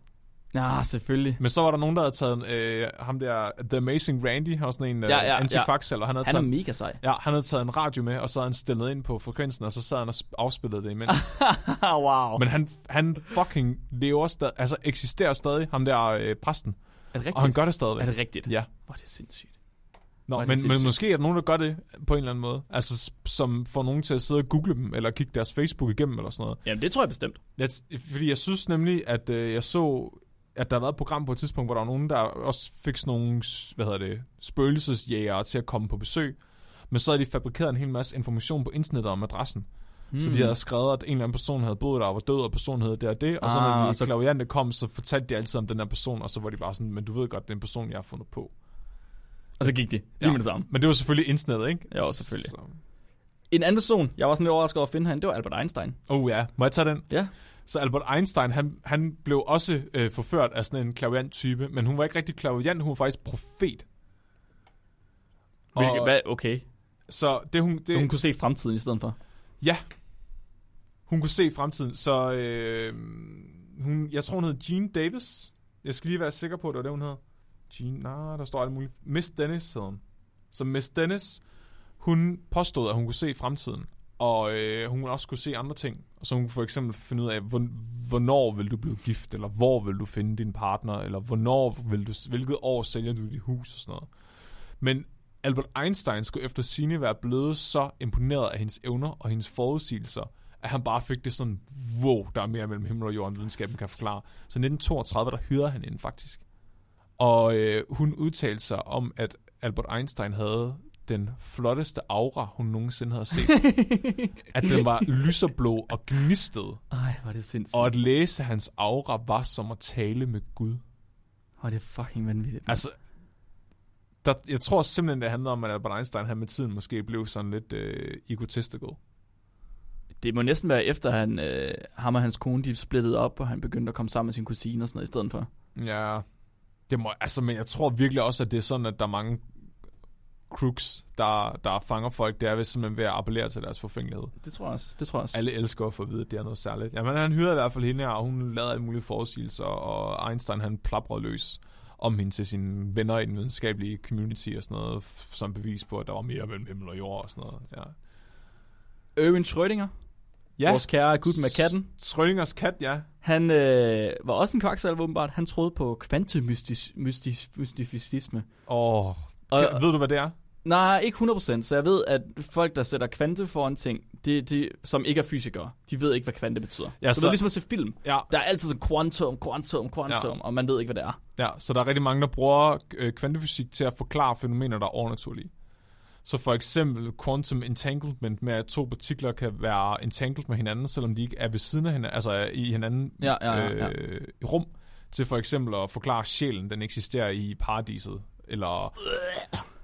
S3: Ja, selvfølgelig.
S2: Men så var der nogen, der havde taget en, øh, ham der, The Amazing Randy, han var sådan en øh, ja,
S3: Ja, ja,
S2: ja,
S3: ja.
S2: antikvaksel, og han havde,
S3: Han er
S2: taget, en-
S3: mega sej.
S2: ja, han havde taget en radio med, og så havde han stillet ind på frekvensen, og så sad han og sp- afspillede det imens.
S3: wow.
S2: Men han, han fucking lever stadig, altså eksisterer stadig, ham der øh, præsten,
S3: Er det
S2: og han
S3: rigtigt?
S2: gør det stadigvæk.
S3: Er det rigtigt?
S2: Ja.
S3: Hvor er det sindssygt.
S2: Nå,
S3: Hvor er det
S2: men, men
S3: sindssygt.
S2: måske er der nogen, der gør det på en eller anden måde. Altså, s- som får nogen til at sidde og google dem, eller kigge deres Facebook igennem, eller sådan noget.
S4: Jamen, det tror jeg bestemt.
S2: Jeg, fordi jeg synes nemlig, at øh, jeg så, at der har været et program på et tidspunkt, hvor der var nogen, der også fik sådan nogle, s- hvad hedder det, spøgelsesjægere til at komme på besøg. Men så havde de fabrikeret en hel masse information på internettet om adressen. Mm. Så de havde skrevet, at en eller anden person havde boet der og var død, og personen hed det og det. Og så
S3: Ah,
S2: når de
S3: og
S2: så...
S3: så-
S2: klaviante kom, så fortalte de altid om den her person, og så var de bare sådan, men du ved godt, det er en person, jeg har fundet på.
S3: Og så gik de. Lige
S2: Ja.
S3: med det samme.
S2: Men det var selvfølgelig internettet, ikke?
S3: Jo, selvfølgelig.
S2: Så...
S3: En anden person, jeg var sådan lidt overrasket over at finde han, det var Albert Einstein.
S2: Oh ja, må jeg tage den?
S3: Ja.
S2: Så Albert Einstein, han, han blev også øh, forført af sådan en klaviant type, men hun var ikke rigtig klaviant, hun var faktisk profet.
S3: Hvilket,
S2: Og-
S3: hvad, okay.
S2: Så det hun, det,
S3: Så hun kunne se fremtiden i stedet for.
S2: ja, hun kunne se fremtiden. Så øh, hun, jeg tror hun hed Jean Davis. Jeg skal lige være sikker på, at det var det, hun hed. Jean, nej, der står alt muligt. Miss Dennis hed hun. Så Miss Dennis, hun påstod, at hun kunne se fremtiden. Og øh, hun også kunne se andre ting. Og så hun kunne for eksempel finde ud af, hvor- hvornår vil du blive gift, eller hvor vil du finde din partner, eller hvornår vil du, hvilket år sælger du dit hus og sådan noget. Men Albert Einstein skulle efter sine være blevet så imponeret af hendes evner og hendes forudsigelser, at han bare fik det sådan, wow, der er mere mellem himmel og jorden, videnskaben kan forklare. Så 1932, der hyrede han hende faktisk. Og øh, hun udtalte sig om, at Albert Einstein havde den flotteste aura, hun nogensinde havde set. at den var lyserblå og gnistede,
S3: Ej, hvor er det sindssygt.
S2: og
S3: Og...
S2: at læse hans aura var som at tale med Gud.
S3: Hvor er det fucking vanvittigt. mand.
S2: Altså, der, jeg tror simpelthen, det handler om, at Albert Einstein han med tiden måske blev sådan lidt øh, egotistical.
S3: Det må næsten være efter, han, øh, ham og hans kone, de splittede op, og han begyndte at komme sammen med sin kusine og sådan noget i stedet for.
S2: Ja, det må, altså, men jeg tror virkelig også, at det er sådan, at der er mange crooks, der, der fanger folk, der er ved simpelthen ved at appellere til deres forfængelighed.
S3: Det tror jeg også. Det tror jeg også.
S2: Alle elsker at få at vide, at det er noget særligt. Jamen, han hyrede i hvert fald hende her, og hun lavede alle mulige forudsigelser, og Einstein han plaprede løs om hende til sine venner i den videnskabelige community og sådan noget, f- som bevis på, at der var mere mellem himmel og jord og sådan noget. Ja.
S3: Erwin Schrödinger, ja. vores kære gut med katten,
S2: Schrödingers kat, ja.
S3: han øh, var også en kvaksalve åbenbart. Han troede på kvantemysticisme.
S2: Åh, oh,
S3: Og,
S2: ved du, hvad det er?
S3: nej, ikke 100%. Så jeg ved, at folk, der sætter kvante foran ting, de, de, som ikke er fysikere, de ved ikke, hvad kvante betyder.
S2: Ja,
S3: Ja,
S2: så-
S3: så, det er ligesom at se film.
S2: Ja,
S3: Der er altid sådan quantum, quantum, quantum,
S2: Ja.
S3: ja. og man ved ikke, hvad det er.
S2: ja, så der er rigtig mange, der bruger øh, kvantefysik til at forklare fænomener, der er overnaturlige. Så for eksempel quantum entanglement med, at to partikler kan være entangled med hinanden, selvom de ikke er ved siden af hinanden, altså er i hinanden
S3: Ja, ja, ja, ja.
S2: Øh, rum, til for eksempel at forklare at sjælen, den eksisterer i paradiset, eller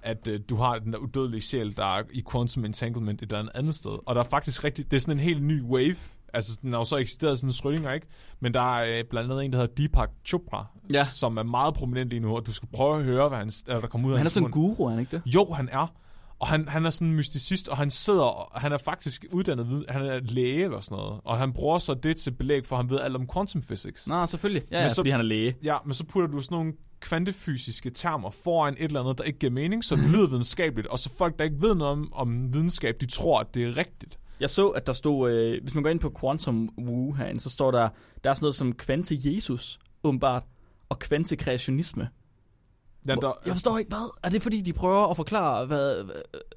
S2: at øh, du har den der udødelige sjæl, der er i quantum entanglement et eller andet sted. Og der er faktisk rigtig, det er sådan en helt ny wave, altså den har jo så eksisteret sådan en Schrödinger, ikke? Men der er øh, blandt andet en, der hedder Deepak Chopra,
S3: Ja.
S2: som er meget prominent lige nu, og du skal prøve at høre, hvad han, der kommer ud af
S3: Han er
S2: hans
S3: sådan en
S2: mund.
S3: guru, er han ikke det?
S2: Jo, han er. Og han, han er sådan en mysticist, og han sidder, og han er faktisk uddannet, vid- han er læge eller sådan noget. Og han bruger så det til belæg, for han ved alt om quantum physics.
S3: Nå, selvfølgelig. Ja,
S2: Men
S3: ja,
S2: så-
S3: så... fordi han er læge.
S2: Ja, men så putter du sådan nogle kvantefysiske termer foran et eller andet, der ikke giver mening, så det lyder videnskabeligt, og så folk, der ikke ved noget om, om videnskab, de tror, at det er rigtigt.
S3: Jeg så, at der stod, øh, hvis man går ind på Quantum Woo herinde, så står der, der er sådan noget som kvante Jesus, åbenbart, og kvante kreationisme.
S2: Ja, der,
S3: Jeg forstår ikke, hvad? Er det fordi, de prøver at forklare, hvad, hvad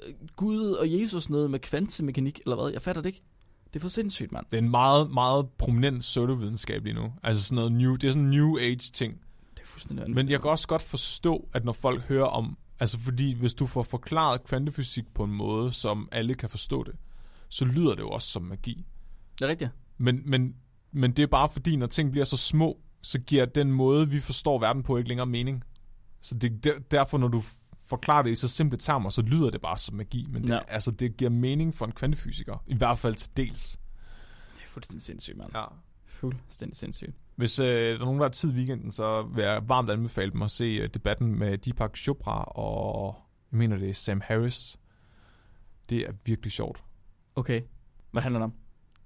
S3: øh, Gud og Jesus noget med kvantemekanik, eller hvad? Jeg fatter det ikke. Det er for sindssygt, mand.
S2: Det er en meget, meget prominent pseudovidenskab lige nu. Altså sådan noget new, det er sådan en new age ting.
S3: Det er fuldstændig vanvittigt.
S2: Men jeg kan også godt forstå, at når folk hører om, altså fordi hvis du får forklaret kvantefysik på en måde, som alle kan forstå det, så lyder det jo også som magi.
S3: Det er rigtigt.
S2: Men, men, men det er bare fordi, når ting bliver så små, så giver den måde, vi forstår verden på, ikke længere mening. Så det er der- derfor, når du forklarer det i så simple termer, så lyder det bare som magi. Men det,
S3: Ja.
S2: ja. altså, det giver mening for en kvantefysiker. I hvert fald til dels.
S3: Det er fuldstændig sindssygt, mand.
S2: Ja.
S3: Fuldstændig sindssygt.
S2: Hvis øh, der er nogen, der har tid i weekenden, så vil jeg varmt anbefale dem at se øh, debatten med Deepak Chopra og, jeg mener det er Sam Harris. Det er virkelig sjovt.
S3: Okay. Hvad handler det om?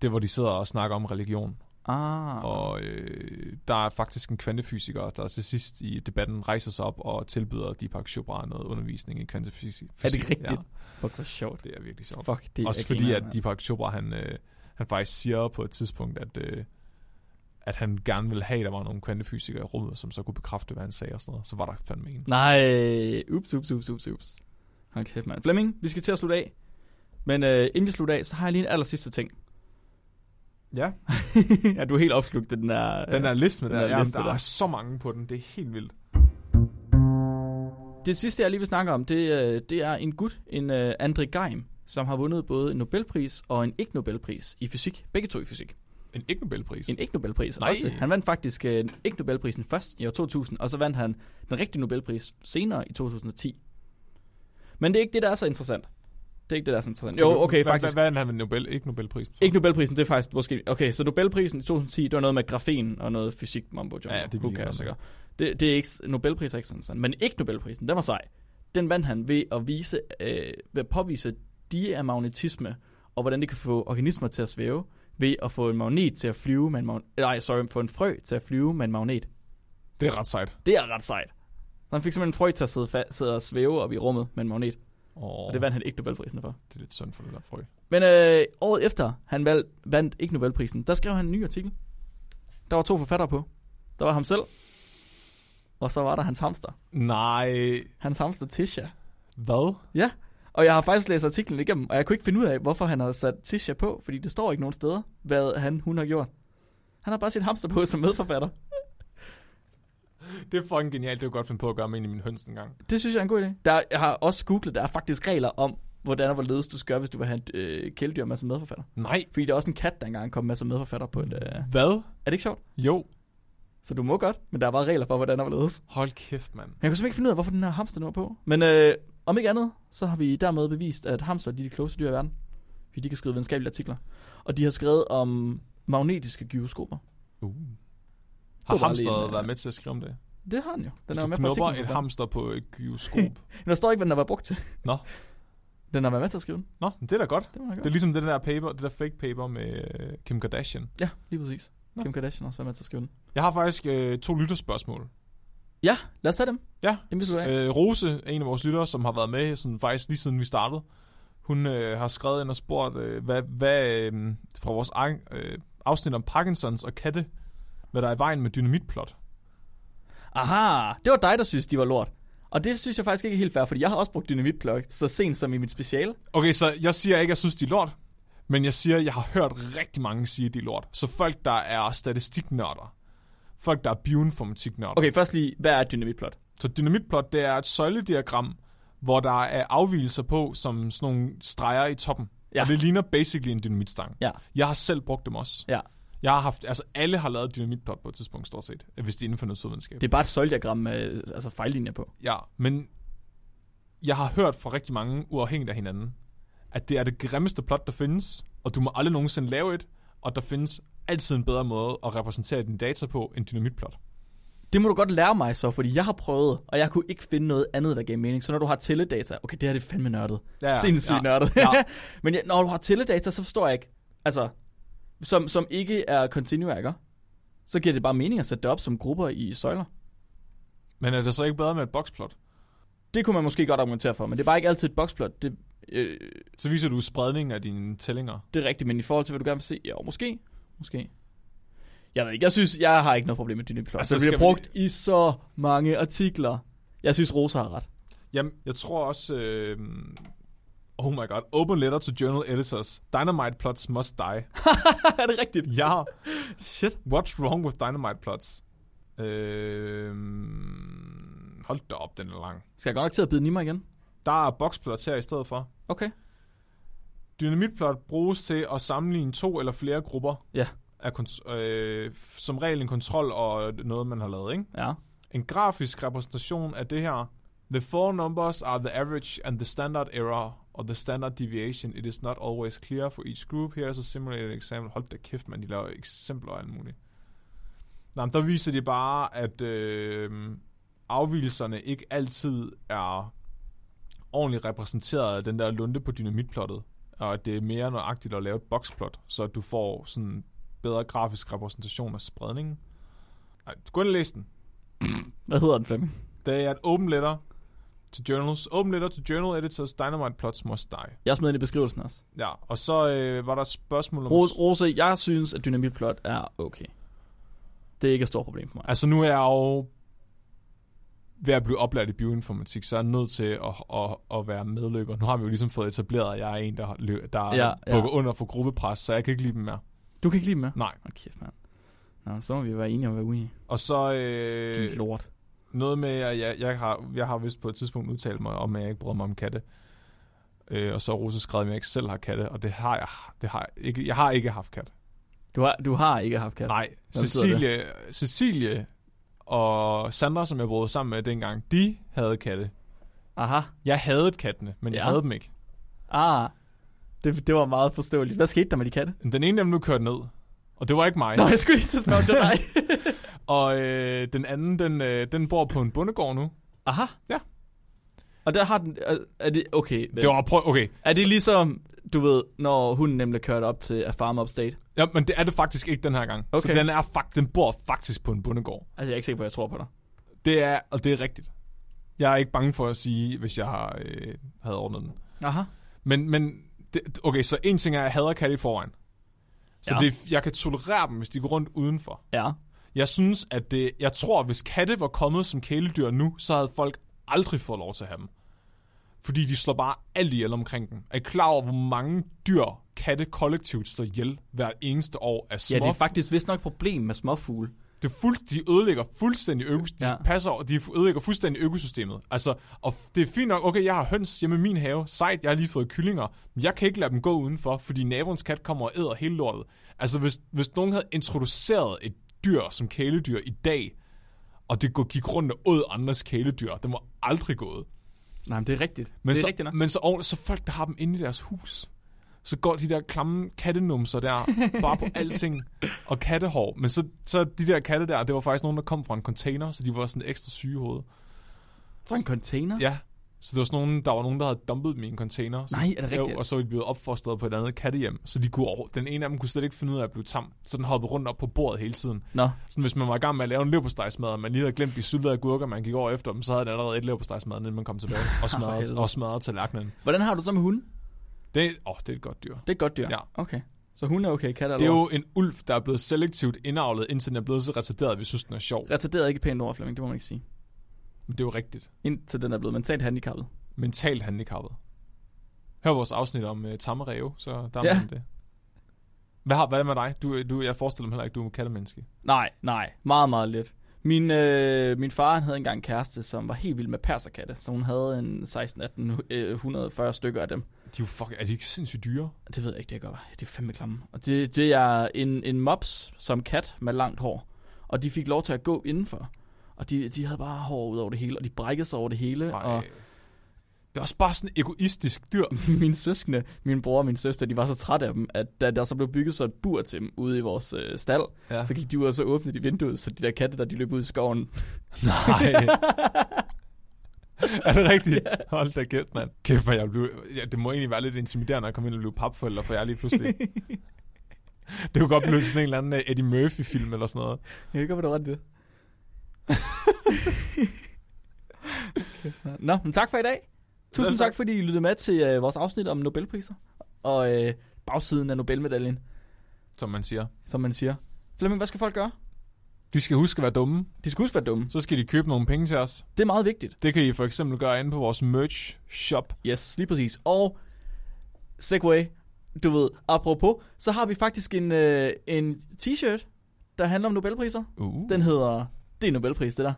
S2: Det er, hvor de sidder og snakker om religion.
S3: Ah.
S2: Og øh, der er faktisk en kvantefysiker, der til sidst i debatten rejser sig op og tilbyder Deepak Chopra noget undervisning i kvantefysik.
S3: er det rigtigt?
S2: Ja,
S3: Fuck, hvor sjovt.
S2: det er virkelig sjovt.
S3: Fuck, det er
S2: Også fordi, at Deepak Chopra, han, øh, han faktisk siger på et tidspunkt, at, øh, at han gerne ville have, at der var nogle kvantefysikere i rummet, som så kunne bekræfte, hvad han sagde og sådan noget. Så var der fandme en.
S3: Nej, ups, ups, ups, ups, ups. Hold kæft, mand. Flemming, vi skal til at slutte af. Men øh, inden vi slutter af, så har jeg lige en aller sidste ting.
S2: Ja,
S3: ja, du er helt opslugt af den øh, der...
S2: den der liste med
S3: den
S2: der,
S3: der
S2: der,
S3: liste
S2: der, der
S3: der.
S2: er så mange på den. Det er helt vildt.
S3: Det sidste, jeg lige vil snakke om, det, øh, det er en gut, en øh, Andre Geim, som har vundet både en Nobelpris og en ikke-Nobelpris i fysik. Begge to i fysik.
S2: En ikke Nobelpris.
S3: En ikke-Nobelpris
S2: Nej.
S3: også. Han vandt faktisk øh, ikke-Nobelprisen først i år 2000, og så vandt han den rigtige Nobelpris senere i 2010. Men det er ikke det, der er så interessant. Det er ikke det, der er så interessant. Jo, okay,
S2: hvad,
S3: faktisk.
S2: Hvad, hvad, hvad er han Nobel, ikke Nobelprisen?
S3: Ikke Nobelprisen, det er faktisk måske... Okay, så Nobelprisen i 2010, det var noget med grafen og noget fysik, mambo jumbo.
S2: Ja, det er vi
S3: Who
S2: ligeglade
S3: cares,
S2: med.
S3: ikke? det, det er ikke... Nobelpris er ikke sådan, sådan. Men ikke Nobelprisen, den var sej. Den vandt han ved at, vise, øh, ved at påvise diamagnetisme, og hvordan det kan få organismer til at svæve, ved at få en magnet til at flyve med en magnet... Nej, sorry, få en frø til at flyve med en magnet.
S2: Det er ret sejt.
S3: Det er ret sejt. Så han fik simpelthen en frø til at sidde, fa- sidde og svæve op i rummet med en magnet,
S2: Oh,
S3: og det vandt han ikke Nobelprisen for.
S2: det er lidt synd for det der frø.
S3: Men øh, året efter, han valg, vandt ikke Nobelprisen, der skrev han en ny artikel. Der var to forfattere på. Der var ham selv, og så var der hans hamster.
S2: Nej,
S3: Hans hamster Tisha.
S2: hvad?
S3: Ja, og jeg har faktisk læst artiklen igennem, og jeg kunne ikke finde ud af, hvorfor han havde sat Tisha på, fordi det står ikke nogen steder, hvad han, hun har gjort. Han har bare sit hamster på som medforfatter.
S2: Det er fucking genialt. Det er jo godt finde på at gøre med en i min høns en gang.
S3: Det synes jeg er en god idé. Der, jeg har også googlet, der er faktisk regler om, hvordan og hvorledes du skal gøre, hvis du vil have et øh, kæledyr med som medforfatter.
S2: Nej.
S3: Fordi der er også en kat, der engang kom med som medforfatter på et... Øh... Er
S2: Hvad?
S3: det ikke sjovt?
S2: Jo.
S3: Så du må godt, men der er bare regler for, hvordan der var ledes.
S2: Hold kæft, mand.
S3: Men jeg kunne simpelthen ikke finde ud af, hvorfor den her hamster nu var på. Men øh, om ikke andet, så har vi dermed bevist, at hamster de er de klogeste dyr i verden. Fordi de kan skrive videnskabelige artikler. Og de har skrevet om magnetiske gyroskoper.
S2: Uh.
S3: bare
S2: Har
S3: lige
S2: hamsteret
S3: en, øh,
S2: været med til at skrive om det?
S3: Det har den jo. Den er jo
S2: Hvis
S3: med
S2: du
S3: på
S2: knupper
S3: artiklen.
S2: et
S3: for fanden.
S2: hamster på et gyroskop.
S3: Men der står ikke, hvad den har været brugt til.
S2: Nå.
S3: Den har været med til at skrive den.
S2: Nå, men det er da godt.
S3: Det må jeg
S2: Det er
S3: gøre.
S2: ligesom det der paper, det der fake paper med øh, Kim Kardashian.
S3: Ja, lige præcis.
S2: Nå.
S3: Kim Kardashian har også været med til at skrive den.
S2: Jeg har faktisk øh, to lytterspørgsmål.
S3: Ja, lad os tage dem.
S2: Ja.
S3: Inden vi slutter af.
S2: Øh, Rose er en af vores lyttere, som har været med sådan, faktisk lige siden vi startede. Hun øh, har skrevet ind og spurgt, øh, hvad, hvad øh, fra vores egen, øh, afsnit om Parkinsons og katte, hvad der er i vejen med dynamitplot.
S3: Aha, det var dig, der synes, de var lort. Og det synes jeg faktisk ikke er helt fair, fordi jeg har også brugt dynamitplug så sent som i mit speciale.
S2: Okay, så jeg siger ikke, at jeg synes, de er lort. Men jeg siger, at jeg har hørt rigtig mange sige, at de er lort. Så folk, der er statistiknørder. Folk, der er bioinformatiknørder.
S3: Okay, først lige, hvad er et dynamitplot?
S2: Så dynamitplot, det er et søjlediagram, hvor der er afvielser på, som sådan nogle streger i toppen.
S3: Ja.
S2: Og det ligner basically en dynamitstang.
S3: Ja,
S2: Jeg har selv brugt dem også.
S3: ja.
S2: Jeg har haft, altså alle har lavet dynamitplot på et tidspunkt, stort set. Hvis de er inden for naturvidenskab.
S3: Det er bare et søjlediagram med altså fejllinjer på.
S2: Ja, men jeg har hørt fra rigtig mange uafhængigt af hinanden, at det er det grimmeste plot, der findes, og du må aldrig nogensinde lave et, og der findes altid en bedre måde at repræsentere dine data på end dynamitplot.
S3: Det må du godt lære mig så, fordi jeg har prøvet, og jeg kunne ikke finde noget andet, der gav mening. Så når du har teledata, okay, det her det er fandme nørdet.
S2: Ja,
S3: Sindssygt
S2: ja,
S3: nørdet.
S2: ja.
S3: Men ja, når du har teledata, så forstår jeg ikke, altså, som, som ikke er continue ikke? så giver det bare mening at sætte det op som grupper i søjler.
S2: Men er det så ikke bedre med et boxplot?
S3: Det kunne man måske godt argumentere for, men det er bare ikke altid et boxplot. Det, øh,
S2: Så viser du spredningen af dine tællinger.
S3: det er rigtigt, men i forhold til, hvad du gerne vil se, ja, måske, måske. Jeg ved ikke, jeg synes, jeg har ikke noget problem med dynamitplot.
S2: Altså,
S3: Altså, det bliver
S2: skal vi-
S3: brugt vi... i så mange artikler. Jeg synes, Rosa har ret.
S2: Jamen, jeg tror også... Øh, Oh my god. Open letter to journal editors. Dynamite plots must die.
S3: er det rigtigt?
S2: Ja.
S3: Shit.
S2: What's wrong with dynamite plots? Øhm, hold da op, den er lang.
S3: Skal jeg godt nok til at bide Nima igen?
S2: Der er boxplots her i stedet for.
S3: Okay.
S2: Dynamitplot bruges til at sammenligne to eller flere grupper.
S3: Ja.
S2: Af kons- øh, som regel en kontrol og noget, man har lavet, ikke?
S3: Ja.
S2: En grafisk repræsentation af det her. The four numbers are the average and the standard error or the standard deviation. It is not always clear for each group. Here is a simulated example. Hold da kæft, man. De laver eksempler og alt muligt. Nå, men der viser de bare, at øh, afvielserne ikke altid er ordentligt repræsenteret af den der lunde på dynamitplottet. Og at det er mere nøjagtigt at lave et boxplot, så at du får sådan bedre grafisk repræsentation af spredningen. Ej, gå ind og læs den.
S3: Hvad hedder den, Flemming?
S2: Det er et open letter til journals. Open letter to journal editors. Dynamite plots must die.
S3: Jeg smed den i beskrivelsen også.
S2: Ja, og så øh, var der et spørgsmål om...
S3: Rose, Rose, jeg synes, at dynamitplot er okay. Det er ikke et stort problem for mig.
S2: Altså nu er jeg jo ved at blive oplært i bioinformatik, så er jeg nødt til at, at, at være medløber. Nu har vi jo ligesom fået etableret, at jeg er en, der, lø- der
S3: Ja,
S2: ja,
S3: ja.
S2: bukker under for gruppepres, så jeg kan ikke lide dem mere.
S3: Du kan ikke lide den med?
S2: Nej.
S3: Åh, kæft, mand. Nå, så må vi være enige om, hvad vi er.
S2: Og så øh,
S3: Din lort.
S2: noget med, at jeg, jeg, har, jeg har vist på et tidspunkt udtalt mig om, at jeg ikke bryder mig om katte. Øh, og så har Rose skrevet, at jeg ikke selv har katte, og det har jeg. Det har jeg, ikke, jeg har ikke haft kat.
S3: Du har, du har ikke haft kat.
S2: Nej,
S3: betyder
S2: Cecilie, Cecilie og Sandra, som jeg boede sammen med dengang, de havde katte.
S3: Aha.
S2: Jeg havde kattene, men ja. jeg
S3: Ja.
S2: havde dem ikke.
S3: Ah. Det, det var meget forståeligt. Hvad skete der med de katte?
S2: Den ene af dem nu kørte ned, og det var ikke mig.
S3: Nå, jeg skulle lige til at spørge, om det var dig.
S2: Og øh, den anden, den, øh, den bor på en bondegård nu.
S3: Aha.
S2: Ja.
S3: Og der har den... er- Er det... Okay.
S2: Det var prøv, okay.
S3: Er det ligesom, du ved, når hunden nemlig kørte op til A Farm Upstate?
S2: Ja, men det er det faktisk ikke den her gang. Så
S3: Okay.
S2: den, er, fakt, den bor faktisk på en bondegård.
S3: Altså, jeg er ikke sikker på, at jeg tror på dig.
S2: Det er, og det er rigtigt. Jeg er ikke bange for at sige, hvis jeg har, øh, havde ordnet den.
S3: Aha.
S2: Men, men det, okay, så en ting er, at jeg hader katte i forvejen. Så
S3: Ja.
S2: ja. det, jeg kan tolerere dem, hvis de går rundt udenfor.
S3: Ja.
S2: Jeg synes, at det, jeg tror, at hvis katte var kommet som kæledyr nu, så havde folk aldrig fået lov til at have dem. Fordi de slår bare alt ihjel omkring dem. Er I klar over, hvor mange dyr katte kollektivt slår ihjel hvert eneste år af små?
S3: Ja, det er faktisk vist nok et problem med småfugle.
S2: det er fuld, de ødelægger fuldstændig økos- ja.
S3: Ja.
S2: de passer, over- de ødelægger fuldstændig økosystemet. Altså, og f- det er fint nok, okay, jeg har høns hjemme i min have, sejt, jeg har lige fået kyllinger, men jeg kan ikke lade dem gå udenfor, fordi naboens kat kommer og æder hele lortet. Altså, hvis, hvis nogen havde introduceret et dyr som kæledyr i dag, og det gå- gik rundt og åd andres kæledyr, det var aldrig gået.
S3: Nej, men det er rigtigt.
S2: Men,
S3: det er
S2: så,
S3: rigtigt nok.
S2: men så, oven- så folk, der har dem inde i deres hus, så går de der klamme kattenumser der, bare på alting, og kattehår. Men så, så de der katte der, det var faktisk nogen, der kom fra en container, så de var sådan ekstra syge i hovedet.
S3: Fra en container?
S2: Ja, så det var sådan nogen, der var nogen, der havde dumpet dem i en container. Så,
S3: Nej, er det
S2: Jo,
S3: rigtigt?
S2: og så var de blevet opfostret på et andet kattehjem, så de kunne, over- den ene af dem kunne slet ikke finde ud af at blive tam, så den hoppede rundt op på bordet hele tiden.
S3: Nå.
S2: Sådan, hvis man var i gang med at lave en leverpostejsmad, og man lige havde glemt de syltede agurker, man gik over efter dem, så havde den allerede et leverpostejsmad, inden man kom tilbage og smadrede,
S3: helvede.
S2: og smadrede tallerkenen.
S3: Hvordan har du det så med hunden?
S2: Det, åh, det er et godt dyr.
S3: Det er et godt dyr.
S2: Ja.
S3: Okay. Så hunden er okay, katter
S2: Det er jo en ulv, der er blevet selektivt indavlet, indtil den er blevet så retarderet, at vi synes, den er sjov.
S3: Retarderet er ikke et pænt ord, Flemming, det må man ikke sige.
S2: Men det er jo rigtigt.
S3: Indtil den er blevet mentalt handicappet.
S2: Mentalt handicappet. Hør vores afsnit om uh, tamme ræve, så der er
S3: Ja.
S2: ja. det. Hvad, har, hvad er det med dig? Du, øh, du, jeg forestiller mig heller ikke, du er en kattemenneske.
S3: Nej, nej. Meget, meget lidt. Min, øh, min far han havde engang en kæreste, som var helt vild med perserkatte, så hun havde en 16, 18, øh, 140 stykker af dem.
S2: De er jo fuck, er de ikke sindssygt dyre?
S3: Det ved jeg ikke, det kan godt være. Det er fandme klamme. Og det, det er en, en mops som kat med langt hår. Og de fik lov til at gå indenfor. Og de, de havde bare hår ud over det hele, og de brækkede sig over det hele.
S2: Nej.
S3: Og
S2: Det er også bare sådan et egoistisk dyr.
S3: mine søskende, min bror og min søster, de var så trætte af dem, at da der så blev bygget så et bur til dem ude i vores øh, stald,
S2: Ja.
S3: ja. så gik de ud og så åbnede de vinduet, så de der katte, der de løb ud i skoven.
S2: Nej. er det rigtigt? Hold da kæft, mand. Kæft, hvor jeg blev... Ja, det må egentlig være lidt intimiderende at komme ind og blive papforælder, for jeg er lige pludselig... det kunne godt blive sådan en eller anden øh, Eddie Murphy-film eller sådan noget.
S3: Jeg kan ikke godt, hvad det Nå, men tak for i dag. Tusind
S2: Selv
S3: tak.
S2: tak.
S3: tak, fordi I lyttede med til øh, vores afsnit om Nobelpriser. Og øh, bagsiden af Nobelmedaljen,
S2: som man siger.
S3: som man siger. Flemming, hvad skal folk gøre?
S2: De skal huske at være dumme.
S3: De skal huske at være dumme.
S2: Så skal de købe nogle penge til os.
S3: Det er meget vigtigt.
S2: Det kan I for eksempel gøre inde på vores merch shop.
S3: Yes, lige præcis. Og segway, du ved, apropos, så har vi faktisk en, øh, en t-shirt, der handler om Nobelpriser.
S2: Uh. Den.
S3: Den hedder, det er en Nobelpris, det der.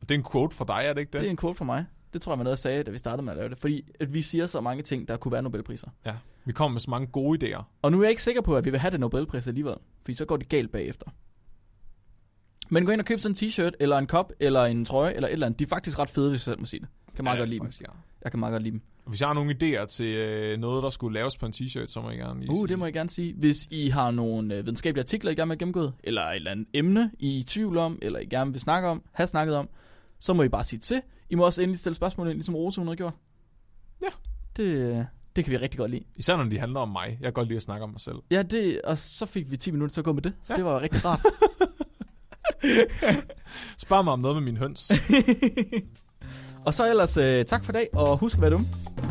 S2: Det er en quote fra dig, er det ikke det?
S3: Det er en quote for mig. Det tror jeg, man også sagde, da vi startede med at lave det. Fordi at vi siger så mange ting, der kunne være Nobelpriser.
S2: Ja. Vi kommer med så mange gode idéer.
S3: Og nu er jeg ikke sikker på, at vi vil have den Nobelpris alligevel. Fordi så går det galt bagefter. Men gå ind og køb sådan en t-shirt, eller en kop, eller en trøje, eller et eller andet. De er faktisk ret fede, hvis jeg selv må sige det. Jeg kan meget ja, godt lide dem.
S2: faktisk, ja.
S3: Jeg kan meget godt lide dem.
S2: Og Hvis jeg har nogle idéer til øh, noget, der skulle laves på en t-shirt, så må jeg gerne lige
S3: Uh, det må jeg gerne sige. Hvis I har nogle øh, videnskabelige artikler, I gerne vil have gennemgået, eller et eller andet emne, I er i tvivl om, eller I gerne vil snakke om, have snakket om, så må I bare sige til. I må også endelig stille spørgsmål ind, ligesom Rose hun har gjort.
S2: Ja.
S3: Det, øh, det kan vi rigtig godt lide.
S2: Især når de handler om mig. Jeg kan godt lide at snakke om mig selv.
S3: Ja, det, og så fik vi 10 minutter til at gå med det, så ja.
S2: Ja.
S3: det var rigtig rart.
S2: Spørg mig om noget med min høns.
S3: og så ellers øh, tak for i dag, og husk at være dumme.